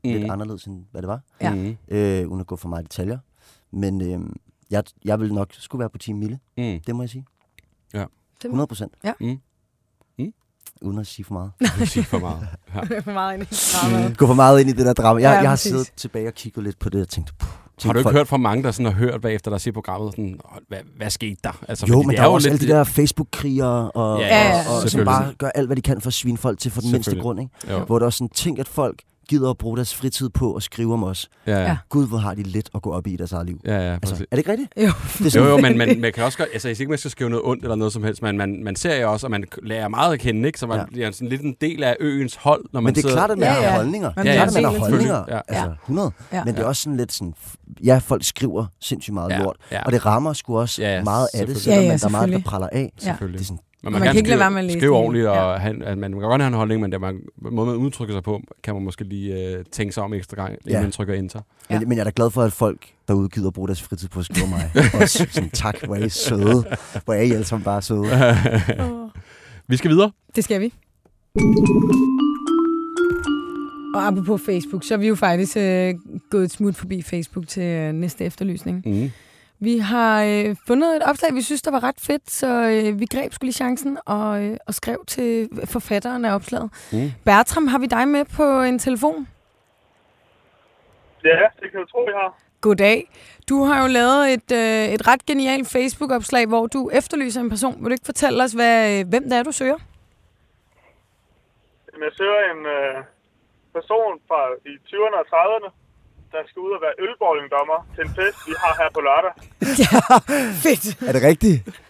Speaker 3: mm. lidt anderledes, end hvad det var,
Speaker 2: Ja.
Speaker 1: Mm.
Speaker 3: øh, uden at gå for meget i detaljer. Men øh, jeg, jeg ville nok skulle være på Team Mille,
Speaker 1: Mm.
Speaker 3: det må jeg sige.
Speaker 1: Ja.
Speaker 3: 100 procent.
Speaker 2: Ja.
Speaker 1: Mm. Mm.
Speaker 3: Uden at sige for meget.
Speaker 1: Du siger for meget. Ja.
Speaker 2: Det er for meget ind i dramaet.
Speaker 1: Mm.
Speaker 3: Gå for meget ind i det der drama. Jeg,
Speaker 2: Ja,
Speaker 3: ja, jeg har
Speaker 2: præcis.
Speaker 3: siddet tilbage og kigget lidt på det og tænkt, puh,
Speaker 1: Har du ikke
Speaker 3: folk.
Speaker 1: hørt fra mange, der sådan har hørt bagefter, der ser programmet, sådan, "Åh, hvad, hvad skete der? Altså,
Speaker 3: Jo,
Speaker 1: fordi
Speaker 3: men
Speaker 1: det
Speaker 3: der er jo også
Speaker 1: lidt-
Speaker 3: alle de der Facebook-krigere, og,
Speaker 1: Ja,
Speaker 2: ja,
Speaker 3: og, og, og som
Speaker 1: selvfølgelig.
Speaker 3: bare gør alt, hvad de kan for at svine folk til for den mindste
Speaker 1: Selvfølgelig.
Speaker 3: grund. Ikke?
Speaker 1: Jo.
Speaker 3: Hvor der også sådan, tænk, at folk gider at bruge deres fritid på at skrive om os.
Speaker 1: Ja, ja.
Speaker 2: Ja.
Speaker 3: Gud, hvor har de let at gå op i i deres eget liv.
Speaker 1: ja, ja
Speaker 3: Altså,
Speaker 1: præcis.
Speaker 3: er det ikke rigtigt?
Speaker 2: Jo.
Speaker 3: Det er
Speaker 1: Jo,
Speaker 3: sådan,
Speaker 1: jo, men man, man kan også godt, altså, jeg siger ikke, man skal skrive noget ondt eller noget som helst, men man, man ser jo også, og man k- lærer meget at kende, ikke? Så man
Speaker 3: Ja.
Speaker 1: ja. bliver sådan lidt en del af øens hold, når man
Speaker 3: men det er
Speaker 1: sidder...
Speaker 3: klart, at man
Speaker 2: Ja,
Speaker 3: har
Speaker 2: ja.
Speaker 3: holdninger.
Speaker 2: Man
Speaker 3: det er
Speaker 1: bliver
Speaker 3: klart, at man har
Speaker 1: set lidt.
Speaker 3: holdninger.
Speaker 1: Ja.
Speaker 3: Altså, 100.
Speaker 2: Ja.
Speaker 3: Men det er også sådan lidt sådan... f- Ja, folk skriver sindssygt meget
Speaker 1: Ja,
Speaker 3: lort.
Speaker 1: ja.
Speaker 3: Og det rammer sgu også
Speaker 1: Ja,
Speaker 3: ja,
Speaker 1: ja,
Speaker 3: meget af det,
Speaker 1: selvfølgelig.
Speaker 3: selvom
Speaker 2: Ja, ja,
Speaker 3: man- der er meget, der
Speaker 2: selvfølgelig.
Speaker 3: praller af.
Speaker 2: Ja.
Speaker 1: Selvfølgelig.
Speaker 3: Det er sådan,
Speaker 1: Men
Speaker 2: Man kan ikke lade
Speaker 1: skrive-
Speaker 2: være med at læse
Speaker 1: skrive
Speaker 2: det hele.
Speaker 1: ordentligt, og
Speaker 2: Ja.
Speaker 1: han, at man, man kan godt have en holdning, men det, man, måden, man udtrykker sig på, kan man måske lige øh, tænke sig om ekstra gang, inden
Speaker 3: Ja.
Speaker 1: man trykker enter.
Speaker 3: Men,
Speaker 2: Ja.
Speaker 3: men jeg er da glad for, at folk derude gider bruge deres fritid på at skrive mig. Og sådan, tak, hvor er I søde. Hvor er I alle sammen bare søde.
Speaker 2: Åh,
Speaker 1: Vi skal videre.
Speaker 2: Det skal vi. Og apropos Facebook, så er vi jo faktisk øh, gået et smut forbi Facebook til øh, næste efterlysning.
Speaker 1: Mm.
Speaker 2: Vi har øh, fundet et opslag, vi synes, der var ret fedt, så øh, vi greb skulle lige chancen og, øh, og skrev til forfatteren af opslaget.
Speaker 1: Mm.
Speaker 2: Bertram, har vi dig med på en telefon?
Speaker 5: Ja, det kan du tro, vi har.
Speaker 2: Goddag. Du har jo lavet et, øh, et ret genialt Facebook-opslag, hvor du efterlyser en person. Vil du ikke fortælle os, hvad, øh, hvem det er, du søger?
Speaker 5: Jamen, Jeg søger en øh, person fra i 20'erne og 30'erne, der skal ud og være ølbowlingdommer til en fest, vi har her på lørdag.
Speaker 2: Fedt.
Speaker 3: Er det rigtigt?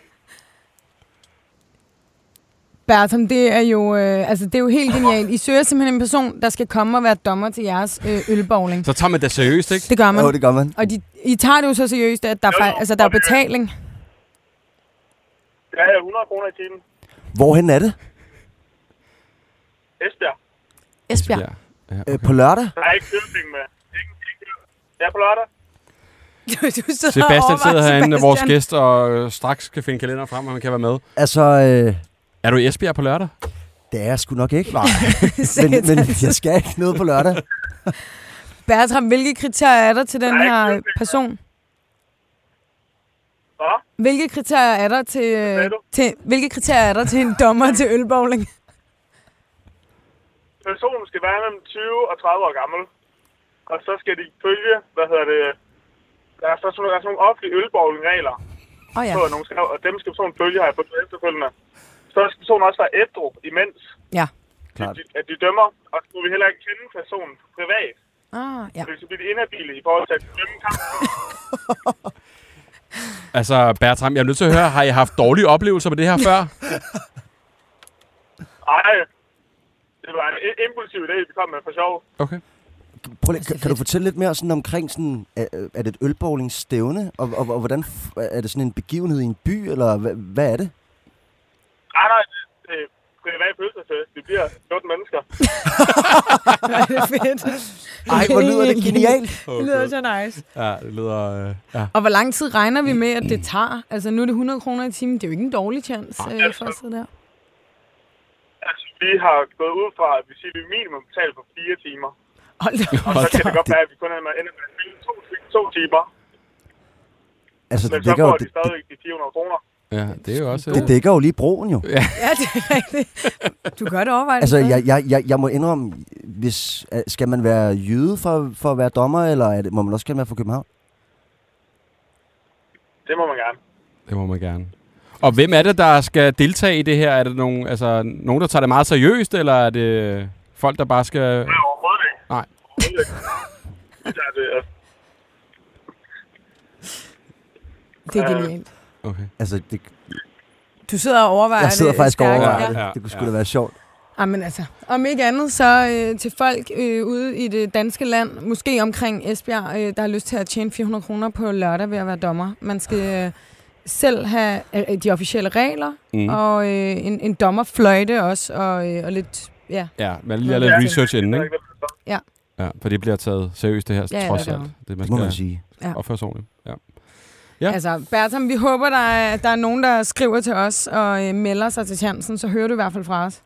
Speaker 2: Bertram, det er jo, øh, altså, det er jo helt genialt. I søger simpelthen en person, der skal komme og være dommer til jeres øh, ølbowling.
Speaker 1: Så tager man det seriøst, ikke?
Speaker 2: Det gør
Speaker 3: Jo,
Speaker 2: man.
Speaker 3: det gør man.
Speaker 2: Og de, I tager det jo så seriøst, at der, er,
Speaker 5: Jo, jo,
Speaker 2: fej- altså, der er
Speaker 5: og det-
Speaker 2: betaling.
Speaker 5: Ja, 100 kroner i timen.
Speaker 3: Hvorhen er det?
Speaker 5: Esbjerg.
Speaker 2: Esbjerg.
Speaker 1: Ja,
Speaker 3: Okay.
Speaker 1: okay.
Speaker 3: Øh, På lørdag?
Speaker 5: Der er ikke købning med. Ikke, ikke, ja, på lørdag.
Speaker 2: Du sidder og
Speaker 1: Sebastian
Speaker 2: overvejer
Speaker 1: sidder herinde,
Speaker 2: Sebastian.
Speaker 1: vores gæst, og øh, straks skal finde kalender frem, og man kan være med.
Speaker 3: Altså, øh,
Speaker 1: Er du i Esbjerg på lørdag?
Speaker 3: det er jeg sgu nok ikke.
Speaker 1: Nej.
Speaker 3: Men, men jeg skal ikke noget på lørdag.
Speaker 2: Bertram, hvilke kriterier er der til den
Speaker 5: Nej,
Speaker 2: her
Speaker 5: det er-
Speaker 2: person?
Speaker 5: Hva?
Speaker 2: Hvilke kriterier er der til, øh,
Speaker 5: sagde du?
Speaker 2: til, hvilke kriterier er der til en dommer til ølbowling?
Speaker 5: Personen skal være mellem 20 og 30 år gammel. Og så skal de følge, hvad hedder det... Der er, så sådan, der er sådan nogle offentlige ølbowlingregler,
Speaker 2: Åh oh, ja.
Speaker 5: på, at nogen skal, og dem skal personen følge her på efterfølgende. Så skal personen også være ædru imens,
Speaker 2: Ja.
Speaker 3: Klart.
Speaker 5: at de, at de dømmer, og så må vi heller ikke kende personen privat.
Speaker 2: Ah, ja.
Speaker 5: Fordi så bliver de inhabile i forhold til at dømme kampen.
Speaker 1: Altså, Bertram, jeg er nødt til at høre, har I haft dårlige oplevelser med det her før?
Speaker 5: Ej, det var en i- impulsiv idé, vi kom med for sjov.
Speaker 1: Okay.
Speaker 3: Prøv lige, kan, kan du fortælle lidt mere sådan omkring, sådan, er, er det et ølbowlingsstævne? Og, og, og hvordan f- er det sådan en begivenhed i en by, eller hvad, hvad er det?
Speaker 5: Ej, nej, det, det er privat fødselsfest. Vi bliver 14 mennesker.
Speaker 2: Det er fedt.
Speaker 3: Ej, hvor lyder det genialt.
Speaker 2: Det lyder så nice.
Speaker 1: Ja, det lyder... Øh, ja.
Speaker 2: Og hvor lang tid regner
Speaker 3: Mm.
Speaker 2: vi med, at det tager? Altså, nu er det 100 kroner i timen. Det er jo ikke en dårlig chance øh, for at sidde der.
Speaker 5: Altså, vi har gået ud fra, at vi siger, at vi minimum betaler for fire timer.
Speaker 2: Hold da op.
Speaker 5: Så kan det godt være, at vi kun ender med ender med at spille to, to timer.
Speaker 3: Altså,
Speaker 5: Men
Speaker 3: det
Speaker 5: så
Speaker 3: dækker, jo,
Speaker 5: får
Speaker 3: det,
Speaker 5: de stadig de 400 kroner.
Speaker 1: ja, det er jo også...
Speaker 3: det, det dækker jo lige broen, jo.
Speaker 2: Ja, det er rigtigt. Du kan godt overveje det.
Speaker 3: Altså,
Speaker 2: stadig.
Speaker 3: jeg, jeg, jeg, jeg må indrømme, hvis, øh, skal man være jøde for, for at være dommer, eller er det, må man også gerne være fra København?
Speaker 5: Det må man gerne.
Speaker 1: øh, Det må man gerne. Og hvem er det, der skal deltage i det her? Er det nogen, altså, nogen der tager det meget seriøst, eller er det folk, der bare skal...
Speaker 5: Nej, overhovedet ikke.
Speaker 1: Nej.
Speaker 5: Overhovedet ikke. Det er det, øh,
Speaker 2: det er genialt.
Speaker 1: Okay.
Speaker 3: Altså, det,
Speaker 2: Du sidder og overvejer
Speaker 3: jeg sidder
Speaker 2: det
Speaker 3: faktisk og
Speaker 2: stærkt.
Speaker 3: overvejer
Speaker 1: Ja.
Speaker 3: det. Det kunne sgu
Speaker 1: Ja.
Speaker 3: da være sjovt.
Speaker 2: Jamen altså, om ikke andet, så øh, til folk øh, ude i det danske land, måske omkring Esbjerg, øh, der har lyst til at tjene 400 kroner på lørdag ved at være dommer. Man skal øh, selv have øh, de officielle regler,
Speaker 1: Mm.
Speaker 2: mm. og øh, en, en dommerfløjte også, og, øh, og lidt, ja,
Speaker 1: Ja, man lige har lavet
Speaker 5: Ja.
Speaker 1: research inden, ikke?
Speaker 5: det er det.
Speaker 1: Ja, for det bliver taget seriøst, det her,
Speaker 2: Ja, ja,
Speaker 1: trods
Speaker 2: det er
Speaker 1: alt. Det, man
Speaker 3: Det må
Speaker 1: skal
Speaker 3: man sige.
Speaker 2: Ja.
Speaker 1: opføre sig ordentligt. Ja. Ja.
Speaker 2: Ja. Altså, Bertram, vi håber, der er, der er nogen, der skriver til os og øh, melder sig til chancen, så hører du i hvert fald fra os.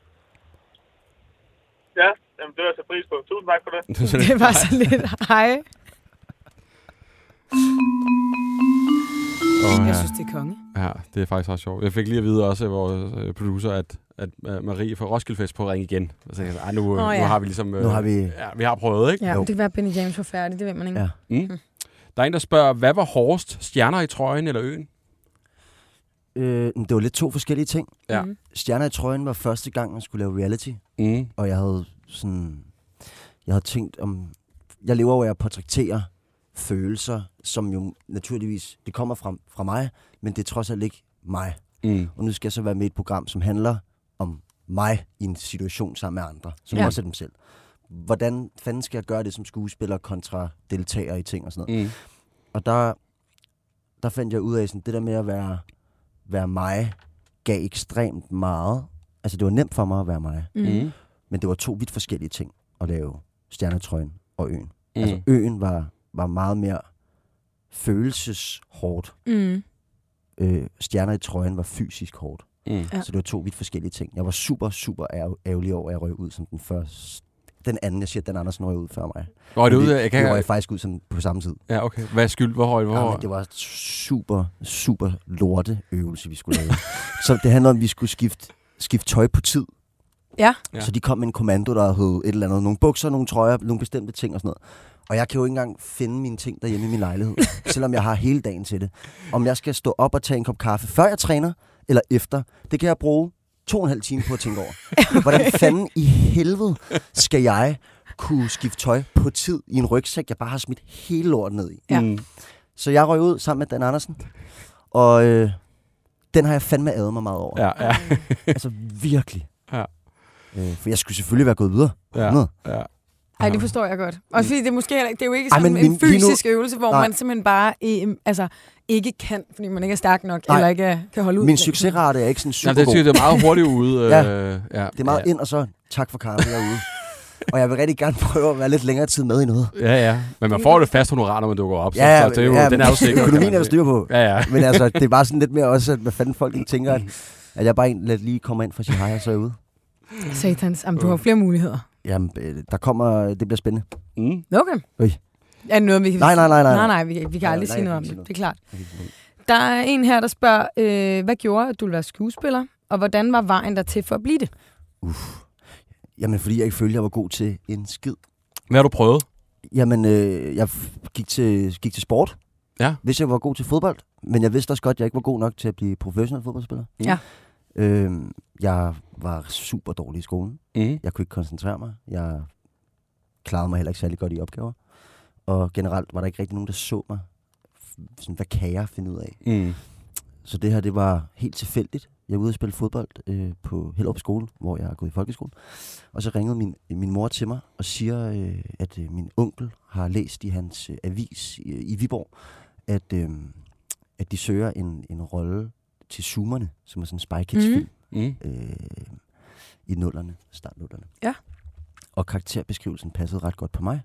Speaker 5: Ja, jamen, det er jeg så pris på. Tusind tak for det.
Speaker 2: Det var så lidt. Hej.
Speaker 1: Åh,
Speaker 2: Jeg
Speaker 1: ja.
Speaker 2: synes, det er konge.
Speaker 1: ja, det er faktisk ret sjovt. Jeg fik lige at vide også af vores øh, producer, at, at øh, Marie fra Roskilde Fest prøvede at ringe igen. Og så tænkte jeg, "Ej, nu, oh,
Speaker 2: Åh,
Speaker 1: ja.
Speaker 2: ja.
Speaker 1: nu har vi ligesom... Øh,
Speaker 3: Nu har vi...
Speaker 1: Ja, vi har prøvet, ikke?
Speaker 2: Ja,
Speaker 3: Jo.
Speaker 2: det kan være, Benny James var færdig, det ved man ikke.
Speaker 3: Ja.
Speaker 2: Ja.
Speaker 1: Mm. Der er en, der spørger, hvad var hårdest? Stjerner i trøjen eller øen?
Speaker 3: Øh, men det var lidt to forskellige ting.
Speaker 1: Ja.
Speaker 2: Mhm.
Speaker 3: Stjerner i trøjen var første gang, man skulle lave reality,
Speaker 1: Mm.
Speaker 3: og jeg havde sådan... Jeg havde tænkt om... Jeg lever over at portrættere følelser, som jo naturligvis, det kommer fra, fra mig, men det er trods alt ikke mig.
Speaker 1: Mm.
Speaker 3: Og nu skal jeg så være med i et program, som handler om mig i en situation sammen med andre, som
Speaker 2: Ja.
Speaker 3: ja. også er dem selv. Hvordan fanden skal jeg gøre det som skuespiller kontra deltager i ting og sådan noget?
Speaker 1: Mm.
Speaker 3: Og der, der fandt jeg ud af, sådan, det der med at være, være mig, gav ekstremt meget. Altså, det var nemt for mig at være mig.
Speaker 1: Mm.
Speaker 3: Men det var to vidt forskellige ting at lave stjernetrøjen og øen. Mm.
Speaker 1: Mm.
Speaker 3: Altså, øen var, var meget mere følelseshårdt.
Speaker 2: Mm.
Speaker 3: Øh, stjerner i trøjen var fysisk hårdt.
Speaker 1: Mm.
Speaker 2: Ja.
Speaker 3: Ja. Så det var to vidt forskellige ting. Jeg var super, super ær- ærgerlig over, at jeg røg ud som den første. Den anden, jeg siger, den Andersen røg ud før mig.
Speaker 1: Nå, er det
Speaker 3: Men
Speaker 1: ude
Speaker 3: vi-
Speaker 1: af? Jeg kan...
Speaker 3: vi røg faktisk ud som på samme tid.
Speaker 1: Ja, okay. Hvad er skyld? Hvor højt? Hvor
Speaker 3: Ja, men
Speaker 1: højt?
Speaker 3: det var en super, super lorte øvelse, vi skulle lave. så det handler om, at vi skulle skifte, skifte tøj på tid.
Speaker 2: Ja.
Speaker 1: Ja.
Speaker 3: ja. Så de kom med en kommando, der hed et eller andet. Nogle bukser, nogle trøjer, nogle bestemte ting og sådan noget. Og jeg kan jo ikke engang finde mine ting derhjemme i min lejlighed, selvom jeg har hele dagen til det. Om jeg skal stå op og tage en kop kaffe, før jeg træner, eller efter, det kan jeg bruge to og en halv time på at tænke over. Hvordan fanden i helvede skal jeg kunne skifte tøj på tid i en rygsæk, jeg bare har smidt hele lorten ned i?
Speaker 2: Ja.
Speaker 1: Mm.
Speaker 3: Så jeg røg ud sammen med Dan Andersen, og øh, den har jeg fandme adet mig meget over. Ja.
Speaker 1: Ja, ja,
Speaker 3: Altså virkelig.
Speaker 1: Ja.
Speaker 3: Øh, for jeg skulle selvfølgelig være gået videre.
Speaker 1: Ja.
Speaker 3: Ja.
Speaker 1: ja.
Speaker 2: Ej, det forstår jeg godt. Og fordi det er måske heller ikke, det er jo ikke
Speaker 3: Mm. Ej,
Speaker 2: sådan Ej,
Speaker 3: men
Speaker 2: en
Speaker 3: min- lige nu-
Speaker 2: fysisk øvelse, hvor Nej.
Speaker 3: Nej.
Speaker 2: man simpelthen bare øh, altså, ikke kan, fordi man ikke er stærk nok,
Speaker 3: Nej.
Speaker 2: eller ikke er- kan holde ud.
Speaker 3: Min succesrate er ikke sådan super
Speaker 1: Jamen, det,
Speaker 3: god.
Speaker 1: er, det er meget hurtigt ude.
Speaker 3: Ja.
Speaker 1: Øh, ja.
Speaker 3: Det er meget ja. ind, og så tak for kaffe herude. og jeg vil rigtig gerne prøve at være lidt længere tid med i noget.
Speaker 1: Ja, ja. Men man får jo det fast honorar, når man dukker op. Så, så det er jo, den er jo
Speaker 3: men
Speaker 1: sikker.
Speaker 3: Økonomien er
Speaker 1: jo
Speaker 3: der styr på.
Speaker 1: Ja, ja.
Speaker 3: Men altså, det er bare sådan lidt mere også, at hvad fanden folk ikke tænker, at, at jeg bare en, lidt lige kommer ind for at sige hej og så er jeg ude.
Speaker 2: Satans,
Speaker 3: Øh.
Speaker 2: jamen, du har flere muligheder.
Speaker 3: Jamen, øh, der kommer, det bliver spændende.
Speaker 1: Mm.
Speaker 2: Okay.
Speaker 3: Øj.
Speaker 2: Er det noget, vi kan
Speaker 3: Nej, nej, nej, nej.
Speaker 2: Nej, nej, vi, kan- vi kan
Speaker 3: Nej,
Speaker 2: aldrig
Speaker 3: nej,
Speaker 2: sige
Speaker 3: jeg
Speaker 2: noget om
Speaker 3: kan
Speaker 2: det.
Speaker 3: ikke
Speaker 2: Det
Speaker 3: sige
Speaker 2: er klart. Der er en her, der spørger, øh, hvad gjorde, at du ville være skuespiller? Og hvordan var vejen der til for at blive det?
Speaker 3: Jamen, fordi jeg ikke følte, jeg var god til en skid.
Speaker 1: Hvad har du prøvet?
Speaker 3: Jamen, øh, jeg f- gik til, gik til sport.
Speaker 1: Ja.
Speaker 3: Hvis jeg var god til fodbold. Men jeg vidste også godt, at jeg ikke var god nok til at blive professionel fodboldspiller.
Speaker 2: Ja.
Speaker 3: Øhm, jeg var super dårlig i skolen.
Speaker 1: Mm.
Speaker 3: Jeg kunne ikke koncentrere mig. Jeg klarede mig heller ikke særlig godt i opgaver. Og generelt var der ikke rigtig nogen, der så mig. F- Sådan, hvad kan jeg finde ud af?
Speaker 1: Mm.
Speaker 3: Så det her, det var helt tilfældigt. Jeg var ude og spille fodbold øh, på Hellerup Skole, hvor jeg er gået i folkeskole. Og så ringede min, min mor til mig og siger, øh, at øh, min onkel har læst i hans øh, avis i, i Viborg, at, øh, at de søger en, en rolle til Zoomerne, som er sådan en Spy Kids-film
Speaker 1: Mm.
Speaker 3: øh, i nullerne, startnullerne.
Speaker 2: Ja.
Speaker 3: Og karakterbeskrivelsen passede ret godt på mig.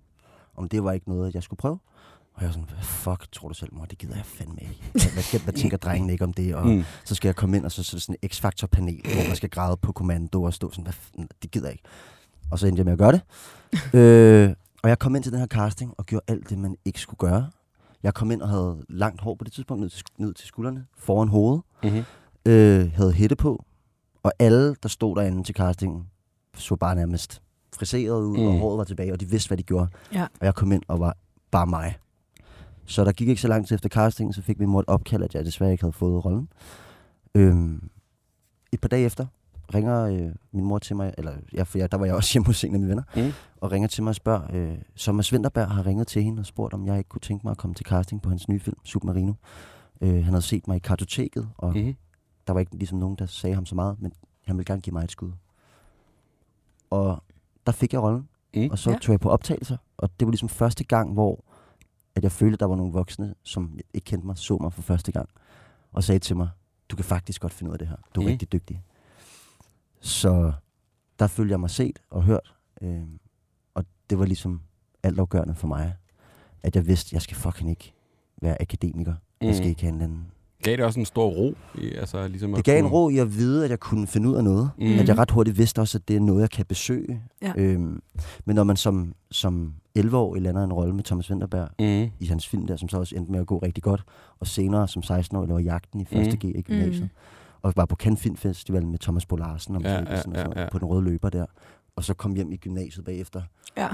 Speaker 3: Om det var ikke noget, jeg skulle prøve. Og jeg var sådan, hvad fuck tror du selv, mor? Det gider jeg fandme ikke. Hvad, hvad, hvad tænker drengene ikke om det? Og
Speaker 1: Mm.
Speaker 3: mm. så skal jeg komme ind, og så, så er det sådan et X-Factor-panel, hvor man skal græde på kommando og stå sådan, hvad fanden, det gider jeg ikke. Og så endte jeg med at gøre det. øh, og jeg kom ind til den her casting og gjorde alt det, man ikke skulle gøre. Jeg kom ind og havde langt hår på det tidspunkt, ned til, ned til skuldrene, foran hovedet
Speaker 1: Mm.
Speaker 3: øh, havde hætte på, og alle, der stod derinde til castingen, så bare nærmest friseret ud, mm. og
Speaker 1: Mm.
Speaker 3: håret var tilbage, og de vidste, hvad de gjorde.
Speaker 2: Ja.
Speaker 3: Og jeg kom ind og var bare mig. Så der gik ikke så lang tid efter castingen, så fik min mor et opkald, at jeg desværre ikke havde fået rollen. Øhm, et par dage efter ringer øh, min mor til mig, eller ja, for jeg, der var jeg også hjemme hos en af mine venner,
Speaker 1: Mm.
Speaker 3: og ringer til mig og spørger, øh, så Mads Vinterberg har ringet til hende og spurgt, om jeg ikke kunne tænke mig at komme til casting på hans nye film, Submarino. Øh, han havde set mig i kartoteket, og
Speaker 1: Mm.
Speaker 3: der var ikke ligesom nogen, der sagde ham så meget, men han ville gerne give mig et skud. Og der fik jeg rollen,
Speaker 1: Mm.
Speaker 3: mm. og så
Speaker 2: Ja.
Speaker 3: ja. tog jeg på optagelser, og det var ligesom første gang, hvor at jeg følte, at der var nogle voksne, som ikke kendte mig, så mig for første gang, og sagde til mig, du kan faktisk godt finde ud af det her, du er
Speaker 1: Mm.
Speaker 3: mm. rigtig dygtig. Så der følte jeg mig set og hørt, øh, og det var ligesom altafgørende for mig, at jeg vidste, at jeg skal fucking ikke være akademiker, mm. jeg skal
Speaker 1: Mm.
Speaker 3: ikke have en eller anden
Speaker 1: Gav det også en stor ro? I, altså, ligesom at
Speaker 3: det gav en
Speaker 1: kunne-
Speaker 3: ro i at vide, at jeg kunne finde ud af noget.
Speaker 1: Mm.
Speaker 3: Mm. At jeg ret hurtigt vidste også, at det er noget, jeg kan besøge.
Speaker 2: Ja.
Speaker 3: Øhm, men når man som, som 11-årig lander en rolle med Thomas Vinterberg
Speaker 1: Mm.
Speaker 3: i hans film der, som så også endte med at gå rigtig godt, og senere som 16-årig laver Jagten i 1. G i gymnasiet,
Speaker 2: Mm.
Speaker 3: mm. og var på Cannes Film Festival med Thomas Bo Larsen og,
Speaker 1: Ja,
Speaker 3: ja, ja, ja,
Speaker 1: ja,
Speaker 3: og sådan
Speaker 1: ja,
Speaker 3: noget,
Speaker 1: ja.
Speaker 3: på den røde løber der, og så kom hjem i gymnasiet bagefter.
Speaker 2: Ja.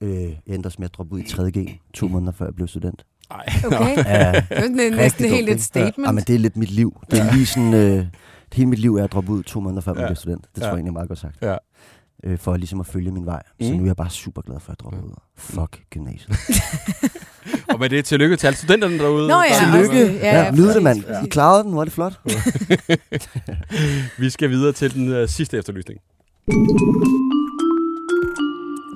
Speaker 3: Øh, jeg endte også med at droppe ud i 3.G to måneder før jeg blev student.
Speaker 1: Nej.
Speaker 2: Okay.
Speaker 3: Ja,
Speaker 6: Det er næsten
Speaker 3: rigtig
Speaker 6: helt et
Speaker 3: dumt, ikke? Ja,
Speaker 6: statement.
Speaker 3: men det er lidt mit liv. Det er lige sådan... Øh, hele mit liv er at droppe ud to måneder før man
Speaker 1: Ja.
Speaker 3: bliver student. Det tror
Speaker 1: Ja.
Speaker 3: jeg egentlig er meget godt sagt.
Speaker 1: Ja.
Speaker 3: Øh, for ligesom at følge min vej. Så
Speaker 1: Mm.
Speaker 3: nu er jeg bare super glad for, at jeg dropper ud. Fuck gymnasiet.
Speaker 1: Og med det, tillykke til alle studenterne derude.
Speaker 6: Nå ja,
Speaker 3: Tillykke.
Speaker 6: også-
Speaker 3: Ja, ja, nyd det, mand.
Speaker 6: præcis,
Speaker 3: I klarede den. Hvor er det flot.
Speaker 1: Vi skal videre til den øh, sidste efterlysning.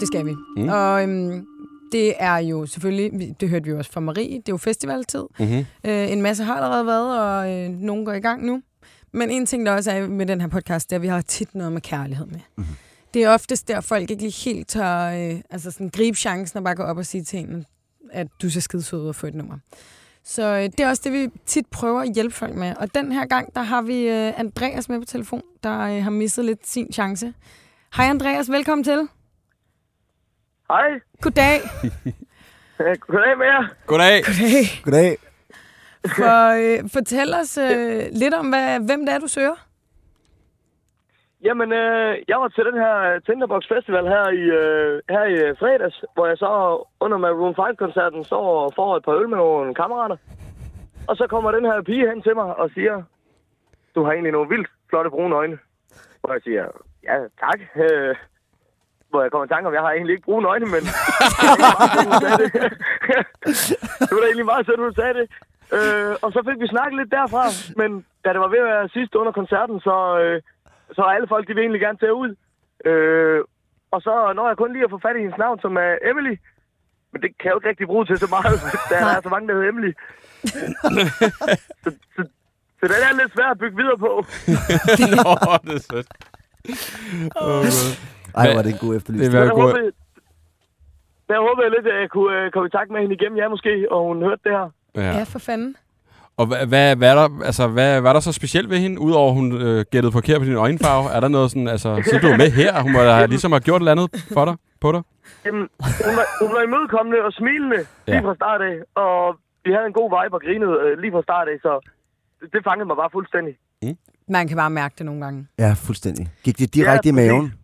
Speaker 2: Det skal vi.
Speaker 1: Mm.
Speaker 2: Mm. Og øhm, det er jo selvfølgelig, vi- det hørte vi jo også fra Marie, det er jo festivaltid.
Speaker 1: Mm-hmm.
Speaker 2: Øh, en masse har allerede været, og øh, nogen går i gang nu. Men en ting, der også er med den her podcast, det er, at vi har tit noget med kærlighed med. Mm. Det er oftest der, folk ikke lige helt tør øh, altså sådan, gribe chancen og bare gå op og sige til en, at du ser skidesød ud og få et nummer. Så øh, det er også det, vi tit prøver at hjælpe folk med. Og den her gang, der har vi øh, Andreas med på telefon, der øh, har misset lidt sin chance. Hej Andreas, velkommen til.
Speaker 7: Hej.
Speaker 2: Goddag.
Speaker 7: Øh, Goddag med jer.
Speaker 1: Goddag.
Speaker 2: Goddag.
Speaker 3: Goddag.
Speaker 2: For, øh, fortæl os øh, lidt om, hvad, hvem det er, du søger.
Speaker 7: Jamen, øh, jeg var til den her øh, Tinderbox Festival her i, øh, her i øh, fredags, hvor jeg så under Maroon 5-koncerten står og får et par øl med nogle kammerater. Og så kommer den her pige hen til mig og siger, du har egentlig nogle vildt flotte brune øjne. Hvor jeg siger, ja tak. Øh, hvor jeg kommer i tanke om, jeg har egentlig ikke brune øjne, men det var da egentlig meget sødt, at du sagde det. Øh, og så fik vi snakket lidt derfra, men da det var ved at være sidst under koncerten, så, øh, så alle folk, de vil egentlig gerne tage ud. Øh, og så når jeg kun lige at få fat i hendes navn, som er Emily. Men det kan jeg jo ikke rigtig bruge til så meget, da der er så mange, der hedder Emily. så, så, så den er lidt svær at bygge videre på.
Speaker 1: Nå, det er sødt. Oh,
Speaker 3: Ej, var det en god efterlysning.
Speaker 1: Det er
Speaker 7: Jeg
Speaker 1: god.
Speaker 7: håber, jeg håber lidt, at jeg kunne øh, komme i kontakt med hende igennem jer måske, og hun hørte det her.
Speaker 1: ja.
Speaker 2: Ja, for fanden.
Speaker 1: Og hvad, hvad, hvad, er der, altså, hvad, hvad er der så specielt ved hende, udover at hun øh, gættede forkert på din øjenfarve? Er der noget sådan, altså, så du er med her, hun må da have- ligesom har gjort et eller andet for dig, på dig?
Speaker 7: Jamen, hun var, hun var imødekommende og smilende ja. lige
Speaker 1: Ja.
Speaker 7: fra start af, og vi havde en god vibe og grinede øh, lige fra start af, så det fangede mig bare fuldstændig.
Speaker 2: Man kan bare mærke det nogle ganve.
Speaker 3: Ja, fuldstændig. Gik det direkte
Speaker 7: Ja,
Speaker 3: i maven?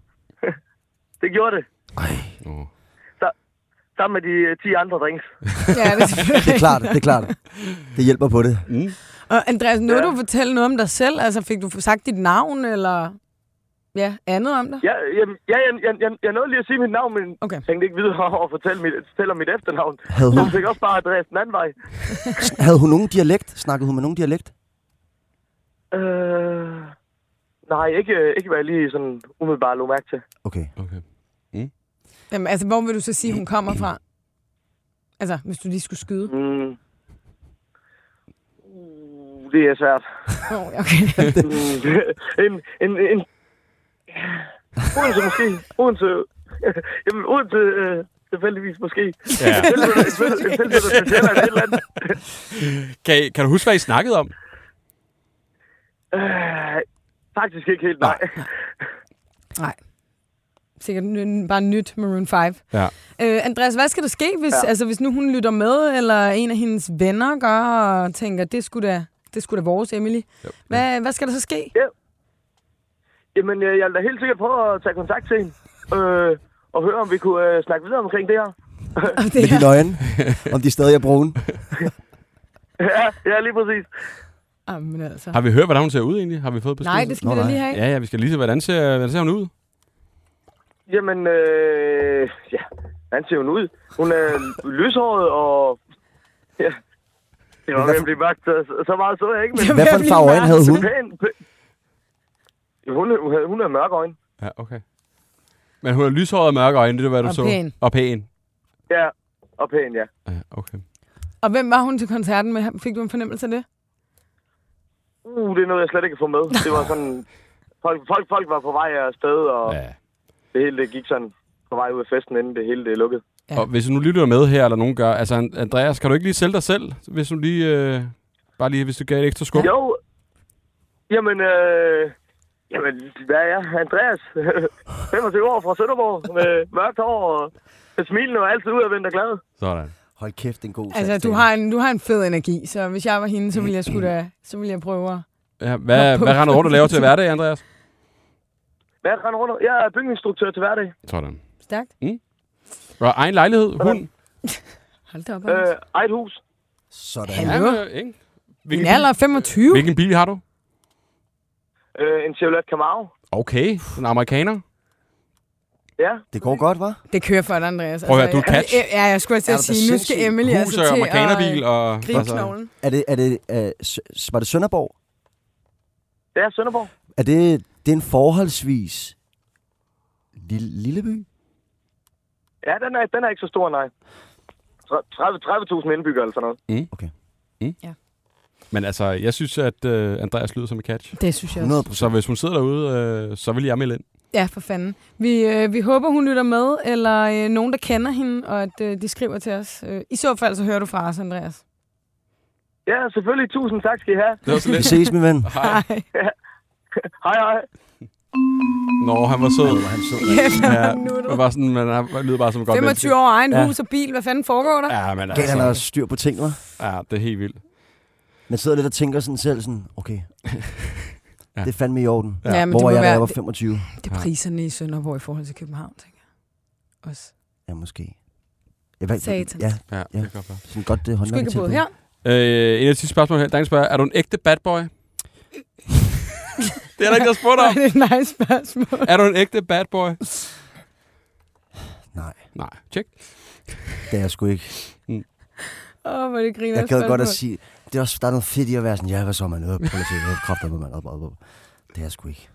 Speaker 7: Det gjorde det,
Speaker 3: Ej,
Speaker 1: Oh.
Speaker 7: sammen med de øh, 10 andre drinks.
Speaker 2: Ja, det er
Speaker 3: det er
Speaker 2: selvfølgelig.
Speaker 3: klart, det er klart. Det hjælper på det.
Speaker 2: Og Andreas, nu ja.
Speaker 7: Ja.
Speaker 2: du fortælle noget om dig selv. Altså, fik du sagt dit navn, eller ja, andet om dig?
Speaker 7: Ja, jamen, ja, jeg, jeg, jeg, jeg nåede lige at sige mit navn, men
Speaker 2: Okay.
Speaker 7: tænkte ikke videre over at fortælle, mit, fortælle om mit efternavn.
Speaker 3: Havde
Speaker 7: Så
Speaker 3: hun,
Speaker 7: hun fik også bare adresse den anden vej.
Speaker 3: havde hun nogen dialekt? Snakkede hun med nogen dialekt?
Speaker 7: Øh, nej, ikke, øh, ikke hvad jeg lige sådan umiddelbart lå mærke til.
Speaker 3: Okay.
Speaker 1: Okay.
Speaker 2: Jamen, altså, hvor vil du så sige, hun kommer fra? Altså, hvis du lige skulle skyde.
Speaker 7: Mm. Uh, det er svært.
Speaker 2: Oh, okay.
Speaker 7: Mm, en, en, en... Odense måske. Odense... Jamen, Odense... Øh, tilfældigvis måske.
Speaker 1: Ja.
Speaker 7: En tilflytter- en tilflytter- en tilflytter til Sjælland, et eller andet.
Speaker 1: Kan, I- kan du huske, hvad I snakkede om?
Speaker 7: Øh, faktisk ikke helt, nej.
Speaker 2: Nej. Sikkert n- bare nyt Maroon 5.
Speaker 1: Ja.
Speaker 2: Øh, Andreas, hvad skal der ske, hvis, ja. altså, hvis nu hun lytter med, eller en af hendes venner gør og tænker, det skulle da, det skulle da vores Emily.
Speaker 1: Jo.
Speaker 2: Hvad, hvad skal der så ske?
Speaker 7: Jamen, øh, jeg vil da helt sikkert prøve at tage kontakt til hende. Øh, og høre, om vi kunne øh, snakke videre omkring det her.
Speaker 2: Om det
Speaker 3: Med
Speaker 2: her?
Speaker 3: dine øjne? Om de stadig er brune?
Speaker 7: Ja, ja lige præcis.
Speaker 2: Jamen, altså.
Speaker 1: Har vi hørt, hvordan hun ser ud egentlig? Har vi fået besked?
Speaker 2: Nej, det skal
Speaker 3: Nå,
Speaker 2: vi da
Speaker 3: nej.
Speaker 2: lige have.
Speaker 1: Ja, ja, vi skal lige se, hvordan ser, hvordan ser hun ud?
Speaker 7: Jamen, øh, ja, hvordan ser hun ud? Hun er lyshåret og... Ja, det var ved at blive mørkt, så, så meget så jeg ikke, men...
Speaker 3: Hvad for en farve øjne havde hun?
Speaker 7: Pæn, pæn. Ja, Hun, hun, havde- hun er mørk øjne.
Speaker 1: Ja, okay. Men hun har lyshåret og mørke øjne, det er, hvad du
Speaker 2: Og
Speaker 1: så.
Speaker 2: pæn.
Speaker 1: Og pæn.
Speaker 7: Ja, og pæn, ja.
Speaker 1: Ja, okay.
Speaker 2: Og hvem var hun til koncerten med? Fik du en fornemmelse af det?
Speaker 7: Uh, det er noget, jeg slet ikke kan få med. Det var sådan... Folk, folk, folk var på vej afsted, og ja.
Speaker 1: Ja.
Speaker 7: det hele det gik sådan på vej ud af festen, inden det hele det lukkede.
Speaker 2: Ja.
Speaker 1: Og hvis du nu lytter med her, eller nogen gør, altså An- Andreas, kan du ikke lige sælge dig selv? Hvis du lige, øh, bare lige, hvis du gav et ekstra skub.
Speaker 7: Jo, jamen, øh, jamen, hvad er jeg? Andreas, 25 år fra Sønderborg, med mørkt hår og med smilende og altid udadvendt og glad.
Speaker 1: Sådan.
Speaker 3: Hold kæft, en god
Speaker 2: Altså, du har, en, du har en fed energi, så hvis jeg var hende, så ville jeg, skulle
Speaker 3: Mm.
Speaker 2: da, så ville jeg prøve at...
Speaker 1: Ja, hvad,
Speaker 2: Nå, på-
Speaker 1: hvad render du rundt og laver til hverdag, Andreas?
Speaker 7: Hvad er det, render rundt? om? Jeg er bygningsinstruktør til hverdag.
Speaker 1: Sådan.
Speaker 2: Stærkt.
Speaker 1: Og egen lejlighed, hund.
Speaker 2: Hold da op, Anders.
Speaker 7: Øh, eget hus.
Speaker 3: Sådan.
Speaker 2: Hallo.
Speaker 1: Ja, øh, ikke?
Speaker 2: Min
Speaker 1: Hvilken,
Speaker 2: alder er 25.
Speaker 1: hvilken bil har du?
Speaker 7: Øh, en Chevrolet Camaro.
Speaker 1: Okay, en amerikaner.
Speaker 7: Ja,
Speaker 3: Det går godt, hva'?
Speaker 2: Det kører for dig, Andreas. Altså,
Speaker 1: Prøv at høre, du er catch.
Speaker 2: Ja, jeg skulle også til
Speaker 3: Er
Speaker 2: at
Speaker 3: du da
Speaker 2: sige, nu
Speaker 3: sindssyg?
Speaker 2: skal Emily
Speaker 1: Hus
Speaker 2: altså
Speaker 1: og
Speaker 2: til
Speaker 1: amerikanerbil.
Speaker 2: at
Speaker 1: Og, Altså-
Speaker 2: gribe knoglen.
Speaker 3: Er det, er det, er, s- var det Sønderborg?
Speaker 7: det er Sønderborg.
Speaker 3: Er det, det er en forholdsvis lille, lille by?
Speaker 7: Ja, den er, den er ikke så stor, nej. Tre- 30 30.000 indbyggere eller sådan noget.
Speaker 1: Mm. men altså, jeg synes, at øh, Andreas lyder som en catch.
Speaker 2: Det synes jeg
Speaker 3: 100
Speaker 2: også.
Speaker 1: Så
Speaker 3: procent.
Speaker 1: hvis hun sidder derude, øh, så vil jeg melde ind.
Speaker 2: Ja, for fanden. Vi, øh, vi håber, hun lytter med, eller øh, nogen, der kender hende, og at øh, de skriver til os. Øh, I så fald, så hører du fra os, Andreas.
Speaker 7: Ja, selvfølgelig. Tusind tak skal I have.
Speaker 1: Det var så
Speaker 3: Vi
Speaker 1: lidt.
Speaker 3: ses, min ven.
Speaker 1: Hej.
Speaker 7: Hej, hej.
Speaker 1: Nå, han var sød.
Speaker 3: Han så
Speaker 2: Kæft,
Speaker 1: Ja,
Speaker 2: ja,
Speaker 1: man, var sådan, man, har- man lyder bare som en godt
Speaker 2: 25 år, egen
Speaker 3: Ja.
Speaker 2: hus og bil. Hvad fanden foregår der?
Speaker 1: Ja, men
Speaker 3: Gav han
Speaker 1: altså,
Speaker 3: også styr på ting, hva'?
Speaker 1: ja, det er helt vildt.
Speaker 3: Man sidder lidt og tænker sådan selv, sådan, okay,
Speaker 1: Ja.
Speaker 3: det er fandme i orden.
Speaker 1: Ja.
Speaker 2: Ja, men
Speaker 3: Hvor
Speaker 2: det må
Speaker 3: var jeg, da
Speaker 2: være,
Speaker 3: jeg var
Speaker 2: det-
Speaker 3: 25?
Speaker 2: Det er priserne i Sønderborg i forhold til København, tænker jeg. Også.
Speaker 3: Ja, måske. Jeg valgte,
Speaker 2: Satans.
Speaker 3: Ja,
Speaker 1: Ja, det kan godt være.
Speaker 3: sådan godt det
Speaker 2: Du skal
Speaker 3: håndværk
Speaker 2: ikke have boet her.
Speaker 1: Øh, en af de sidste spørgsmål her. Der er en spørger, er du en ægte bad boy? det er der ikke, der spurgte om.
Speaker 2: Det er et nice spørgsmål.
Speaker 1: Er du en ægte bad boy?
Speaker 3: Nej,
Speaker 1: Nej, tjek.
Speaker 3: det er jeg sgu ikke.
Speaker 2: Åh, oh, hvor er det griner.
Speaker 3: Jeg gad godt at sige, det er også, der er noget fedt i at være sådan, ja, hvad så man, øh, prøv at se, øh, kraft op, mand, op, op, op. Det er jeg sgu ikke.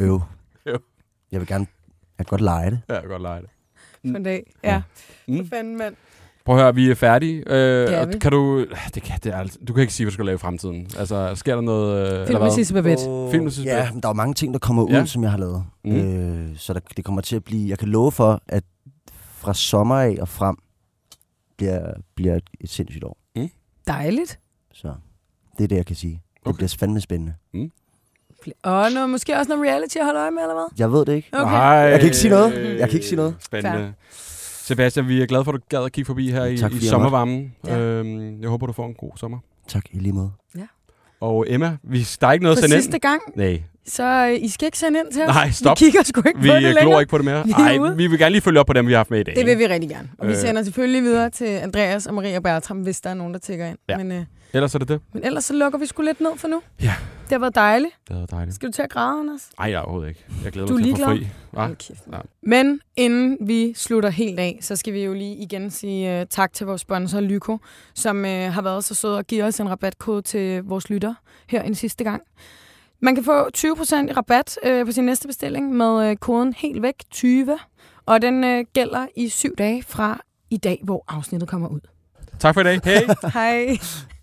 Speaker 3: Øv.
Speaker 1: Øv.
Speaker 3: Jeg vil gerne, jeg kan godt lege det.
Speaker 1: Ja, jeg kan godt lege det.
Speaker 2: En dag. Ja,
Speaker 1: Mm.
Speaker 2: for fanden, mand.
Speaker 1: Prøv at høre, vi er færdige. Øh,
Speaker 2: Det er
Speaker 1: og
Speaker 2: vi.
Speaker 1: kan du... Det kan, det er, alt- du kan ikke sige, hvad du skal lave i fremtiden. Altså, sker der noget... Øh, eller
Speaker 2: Film med
Speaker 1: hvad?
Speaker 2: Sisse Babette.
Speaker 1: Film, du synes,
Speaker 3: Ja,
Speaker 1: bedst?
Speaker 3: men der er jo mange ting, der kommer ud,
Speaker 1: Ja.
Speaker 3: ja. som jeg har lavet.
Speaker 1: Mm.
Speaker 3: Mm. Øh, så der, det kommer til at blive, jeg kan love for, at fra sommer af og frem, bliver, bliver et, et sindssygt år.
Speaker 2: Dejligt.
Speaker 3: Så det er det, jeg kan sige. Det
Speaker 1: Okay.
Speaker 3: okay. bliver fandme spændende.
Speaker 2: Og noget, måske også noget reality at holde øje med, eller hvad?
Speaker 3: Jeg ved det ikke.
Speaker 2: Okay.
Speaker 1: Nej,
Speaker 3: Jeg kan ikke sige noget. Jeg kan ikke sige noget.
Speaker 1: Spændende. Sebastian, vi er glade for, at du gad at kigge forbi her i,
Speaker 3: Tak,
Speaker 1: i
Speaker 3: fordi jeg
Speaker 1: sommervarmen.
Speaker 2: måtte.
Speaker 1: Øhm, jeg håber, du får en god sommer.
Speaker 3: Tak, i lige måde.
Speaker 1: Og Emma, vi, der er ikke noget
Speaker 2: For
Speaker 1: at sende
Speaker 2: sidste
Speaker 1: ind.
Speaker 2: gang,
Speaker 1: Nej,
Speaker 2: så øh, I skal ikke sende ind til os.
Speaker 1: Nej, stop.
Speaker 2: Vi kigger sgu ikke
Speaker 1: vi
Speaker 2: på
Speaker 1: øh,
Speaker 2: det
Speaker 1: glor
Speaker 2: længere.
Speaker 1: ikke på det mere.
Speaker 2: Vi er
Speaker 1: Nej,
Speaker 2: ude.
Speaker 1: vi vil gerne lige følge op på dem, vi har haft med i dag.
Speaker 2: Det vil vi rigtig gerne. Og vi
Speaker 1: Øh.
Speaker 2: sender selvfølgelig videre til Andreas og Maria Bertram, hvis der er nogen, der tækker ind.
Speaker 1: Ja.
Speaker 2: Men, øh,
Speaker 1: Ellers er det det.
Speaker 2: men ellers så lukker vi sgu lidt ned for nu.
Speaker 1: Ja.
Speaker 2: Det har været dejligt.
Speaker 1: Det er dejligt.
Speaker 2: Skal du til at græde, Anders?
Speaker 1: Nej, jeg overhovedet ikke. Jeg glæder
Speaker 2: Du
Speaker 1: mig
Speaker 2: er
Speaker 1: til at få fri.
Speaker 2: ligeglad?
Speaker 1: Hva?
Speaker 2: Hold kæft.
Speaker 1: Ja.
Speaker 2: Men inden vi slutter helt af, så skal vi jo lige igen sige uh, tak til vores sponsor Lyko, som uh, har været så sød at give os en rabatkode til vores lytter her en sidste gang. Man kan få 20% i rabat uh, på sin næste bestilling med uh, koden helt væk 20, og den uh, gælder i syv dage fra i dag, hvor afsnittet kommer ud.
Speaker 1: Tak for i dag. Hej.
Speaker 2: Hej.